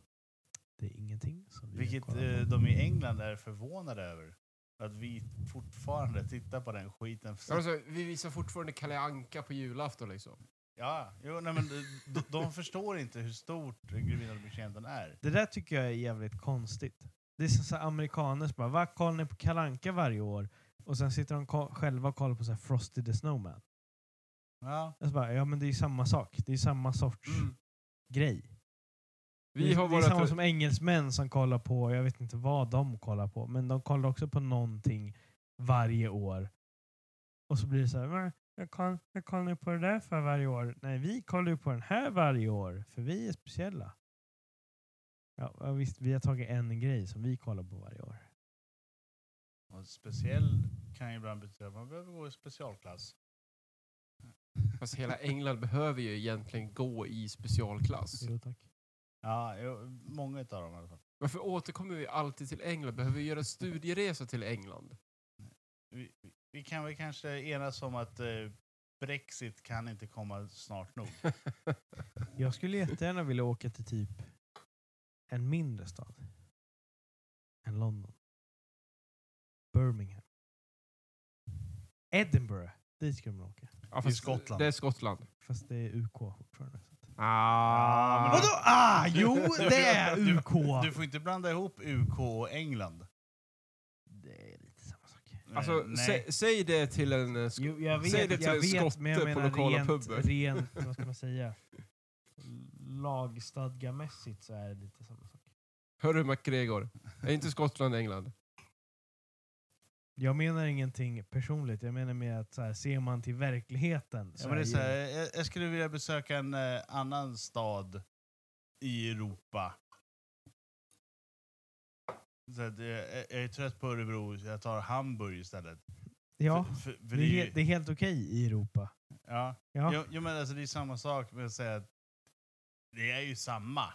Speaker 1: Det är ingenting som vi har
Speaker 2: Vilket
Speaker 1: kollat
Speaker 2: eh,
Speaker 1: på.
Speaker 2: de i England är förvånade över. Att vi fortfarande tittar på den skiten.
Speaker 3: Alltså, vi visar fortfarande Kalle Anka på julafton liksom.
Speaker 2: Ja, jo, nej, men eh, de, de förstår inte hur stort Grevinnan och betjänten är.
Speaker 1: Det där tycker jag är jävligt konstigt. Det är som så här amerikaner som bara, va kollar ni på Kalanka varje år? Och sen sitter de ko- själva och kollar på så här Frosty the Snowman.
Speaker 2: Ja.
Speaker 1: Jag så bara, ja men det är ju samma sak. Det är ju samma sorts
Speaker 3: Mm.
Speaker 1: grej.
Speaker 3: Vi
Speaker 1: det,
Speaker 3: har
Speaker 1: det är samma
Speaker 3: våra...
Speaker 1: som engelsmän som kollar på, jag vet inte vad de kollar på, men de kollar också på någonting varje år. Och så blir det så här, "Men jag, koll, jag kollar ju på det där för varje år. Nej, vi kollar ju på den här varje år, för vi är speciella. Ja, ja, visst, vi har tagit en grej som vi kollar på varje år.
Speaker 2: Och speciell kan ju ibland betyda att man behöver gå i specialklass.
Speaker 3: Fast hela England behöver ju egentligen gå i specialklass.
Speaker 1: Jo, tack.
Speaker 2: Ja, jo, många utav dem i alla fall.
Speaker 3: Varför återkommer vi alltid till England? Behöver vi göra en studieresa till England?
Speaker 2: Vi, vi- vi kan väl kanske enas om att eh, Brexit kan inte komma snart nog.
Speaker 1: Jag skulle jättegärna vilja åka till typ en mindre stad än London. Birmingham. Edinburgh. Dit skulle man åka.
Speaker 3: Ja,
Speaker 2: Det är Skottland.
Speaker 3: Det är Skottland.
Speaker 1: Fast det är UK fortfarande. så att-
Speaker 3: Ah,
Speaker 2: men-
Speaker 1: Vadå? Ah, jo, det är
Speaker 2: Du-
Speaker 1: UK!
Speaker 2: Du får inte blanda ihop UK och England.
Speaker 1: Det är lite samma sak.
Speaker 3: Alltså,
Speaker 2: Eh,
Speaker 3: sä, säg det till en... eh, sk-
Speaker 1: Jo, jag vet,
Speaker 3: Säg det till
Speaker 1: jag
Speaker 3: en
Speaker 1: vet
Speaker 3: skotte
Speaker 1: men jag
Speaker 3: på
Speaker 1: menar
Speaker 3: lokala
Speaker 1: rent,
Speaker 3: puben.
Speaker 1: rent, vad ska man säga? Lagstadgamässigt så är det lite samma sak.
Speaker 3: Hörru MacGregor, är inte Skottland England?
Speaker 1: Jag menar ingenting personligt, jag menar mer att så här, ser man till verkligheten
Speaker 2: Ja, men det är
Speaker 1: ju-
Speaker 2: så här, jag, jag skulle vilja besöka en eh, annan stad i Europa. Så att, eh, jag, jag är trött på Örebro, så jag tar Hamburg istället.
Speaker 1: ja,
Speaker 2: För- för-
Speaker 1: det,
Speaker 2: för
Speaker 1: är,
Speaker 2: det är ju-
Speaker 1: he- det är helt okej i Europa.
Speaker 2: Ja.
Speaker 1: Ja.
Speaker 2: Jo, jo, men alltså, det är samma sak med att säga att det är ju samma.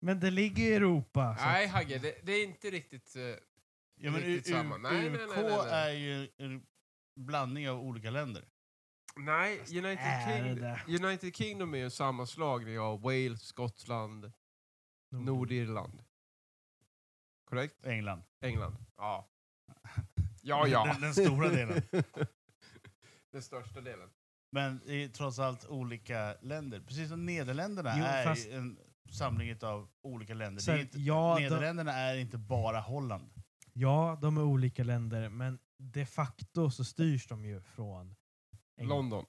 Speaker 1: Men det ligger i Europa. så-
Speaker 3: Nej Hagge, det, det är inte riktigt... eh,
Speaker 2: Ja, men U-
Speaker 3: Riktigt samma.
Speaker 2: U-
Speaker 3: Nej, nej,
Speaker 2: UK
Speaker 3: nej, nej, nej.
Speaker 2: är ju en blandning av olika länder.
Speaker 3: nej, United,
Speaker 1: är det
Speaker 3: King,
Speaker 1: där?
Speaker 3: United Kingdom är ju en sammanslagning av Wales, Skottland,
Speaker 1: Mm.
Speaker 3: Nordirland. Korrekt?
Speaker 2: England.
Speaker 3: England. Ja. Ja, ja.
Speaker 2: Den, den stora delen.
Speaker 3: Den största delen.
Speaker 2: Men det är trots allt olika länder. Precis som Nederländerna
Speaker 1: Jo,
Speaker 2: är
Speaker 1: fast-
Speaker 2: ju en samling av olika länder.
Speaker 1: Så
Speaker 2: det
Speaker 1: här,
Speaker 2: är inte,
Speaker 1: ja, de,
Speaker 2: Nederländerna är inte bara Holland.
Speaker 1: ja, de är olika länder, men de facto så styrs de ju från England.
Speaker 3: London.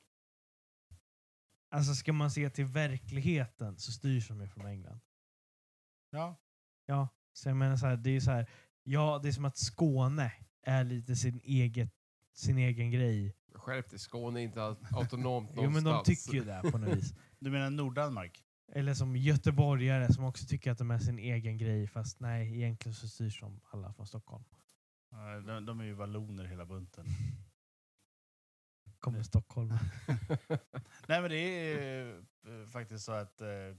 Speaker 1: Alltså ska man se till verkligheten så styrs de ju från England.
Speaker 2: Ja.
Speaker 1: Ja, så jag menar så här, det är så här, ja, det är som att Skåne är lite sin eget sin egen grej
Speaker 3: Skärp dig, Skåne är inte au- autonomt
Speaker 1: Jo men
Speaker 3: någonstans.
Speaker 1: de tycker ju det på något vis.
Speaker 2: Du menar Norddanmark?
Speaker 1: Eller som göteborgare som också tycker att de är sin egen grej fast nej, egentligen så styrs de alla från Stockholm.
Speaker 2: Nej, De, de är ju valloner hela bunten.
Speaker 1: Kommer Stockholm.
Speaker 2: Nej men det är eh, faktiskt så att eh,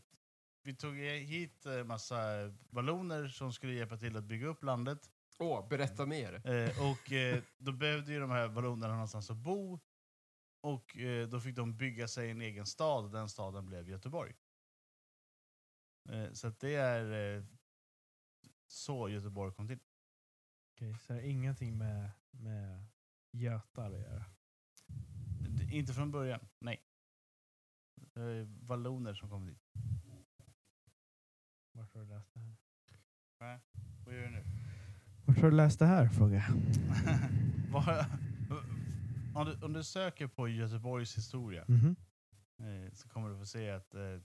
Speaker 2: vi tog hit eh, massa valloner som skulle hjälpa till att bygga upp landet.
Speaker 3: Åh, berätta mer.
Speaker 2: Eh, och eh, då behövde ju de här vallonerna någonstans att bo. Och eh, då fick de bygga sig en egen stad, och den staden blev Göteborg. Eh, så att det är eh, så Göteborg kom till.
Speaker 1: Okej, så det är ingenting med, med götar att göra.
Speaker 2: D- Inte från början, nej. Det är valloner som kom dit.
Speaker 1: Vart har du läst det här?
Speaker 2: Vad gör du nu?
Speaker 1: Vart har du läst det här? Frågar jag.
Speaker 2: Vad- om, du, om du söker på Göteborgs historia
Speaker 1: Mhm.
Speaker 2: eh, så kommer du få se att eh,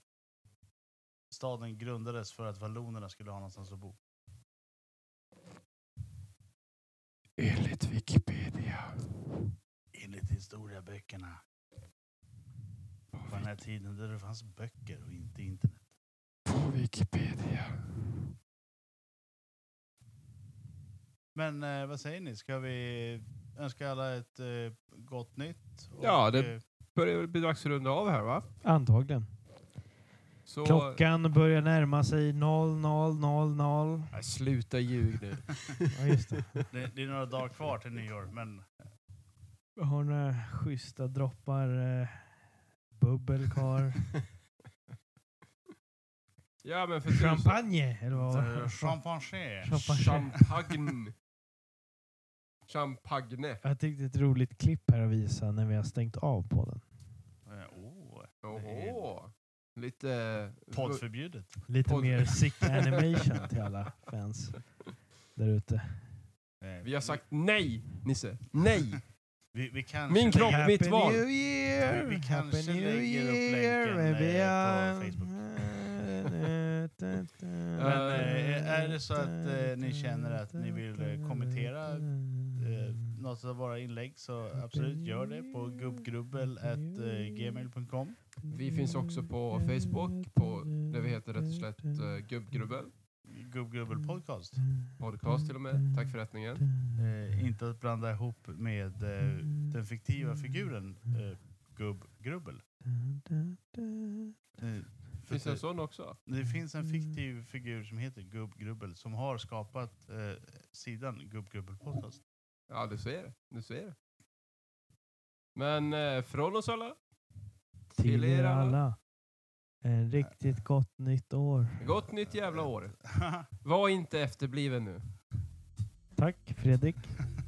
Speaker 2: staden grundades för att vallonerna skulle ha någonstans att bo.
Speaker 3: Enligt Wikipedia.
Speaker 2: Enligt historieböckerna. På den här tiden där det fanns böcker och inte internet.
Speaker 3: På Wikipedia.
Speaker 2: Men eh, vad säger ni? Ska vi önska alla ett eh, gott nytt? Och,
Speaker 3: Ja, det-
Speaker 2: eh,
Speaker 3: Börjar väl bli dags att runda av här va?
Speaker 1: Antagligen.
Speaker 3: Så...
Speaker 1: Klockan börjar närma sig 00.00.
Speaker 3: Nej, sluta ljug nu.
Speaker 1: Ja, just det.
Speaker 2: det, det är några dagar kvar till nyår, men
Speaker 1: Har några schyssta droppar eh, bubbel kvar?
Speaker 3: Ja, men för tusan.
Speaker 1: Champagne? Eller vad var
Speaker 2: eh,
Speaker 1: det?
Speaker 2: champagne.
Speaker 1: Champagne.
Speaker 3: Champagne. Champagne.
Speaker 1: Jag tyckte ett roligt klipp här att visa när vi har stängt av podden.
Speaker 2: Eh, oh,
Speaker 3: Oho. Lite...
Speaker 2: poddförbjudet.
Speaker 1: Lite
Speaker 3: Podd-
Speaker 1: mer sick animation till alla fans där ute.
Speaker 2: Eh,
Speaker 3: Vi har sagt nej, Nisse. Nej!
Speaker 2: vi, vi kanske
Speaker 3: Min kropp,
Speaker 2: lägger-
Speaker 3: mitt val.
Speaker 1: New Year!
Speaker 2: Vi- vi kanske
Speaker 1: Happy New
Speaker 2: lägger upp
Speaker 1: Year,
Speaker 2: länken,
Speaker 1: maybe
Speaker 2: eh, på
Speaker 1: I'm-
Speaker 2: Facebook.
Speaker 3: Men,
Speaker 2: eh, är det så att, eh, ni känner att ni vill, eh, kommentera, eh, något av våra inlägg så absolut gör det på eh, gubbgrubbel.gmail.com.
Speaker 3: Vi finns också på Facebook, på, där vi heter rätt och slätt uh, Gubbgrubbel.
Speaker 2: Gubbgrubbel podcast.
Speaker 3: Podcast till och med. Tack för rättningen.
Speaker 2: Eh, inte att blanda ihop med eh, den fiktiva figuren eh, Gubbgrubbel. Eh, för
Speaker 3: Finns det en
Speaker 2: det,
Speaker 3: sån också?
Speaker 2: det finns en fiktiv figur som heter Gubbgrubbel som har skapat eh, sidan Gubbgrubbel podcast.
Speaker 3: Ja, du ser det. Du ser det. Men eh, från oss alla,
Speaker 1: Till er alla. En riktigt gott nytt år.
Speaker 3: gott nytt jävla år. Var inte efterbliven nu.
Speaker 1: Tack Fredrik.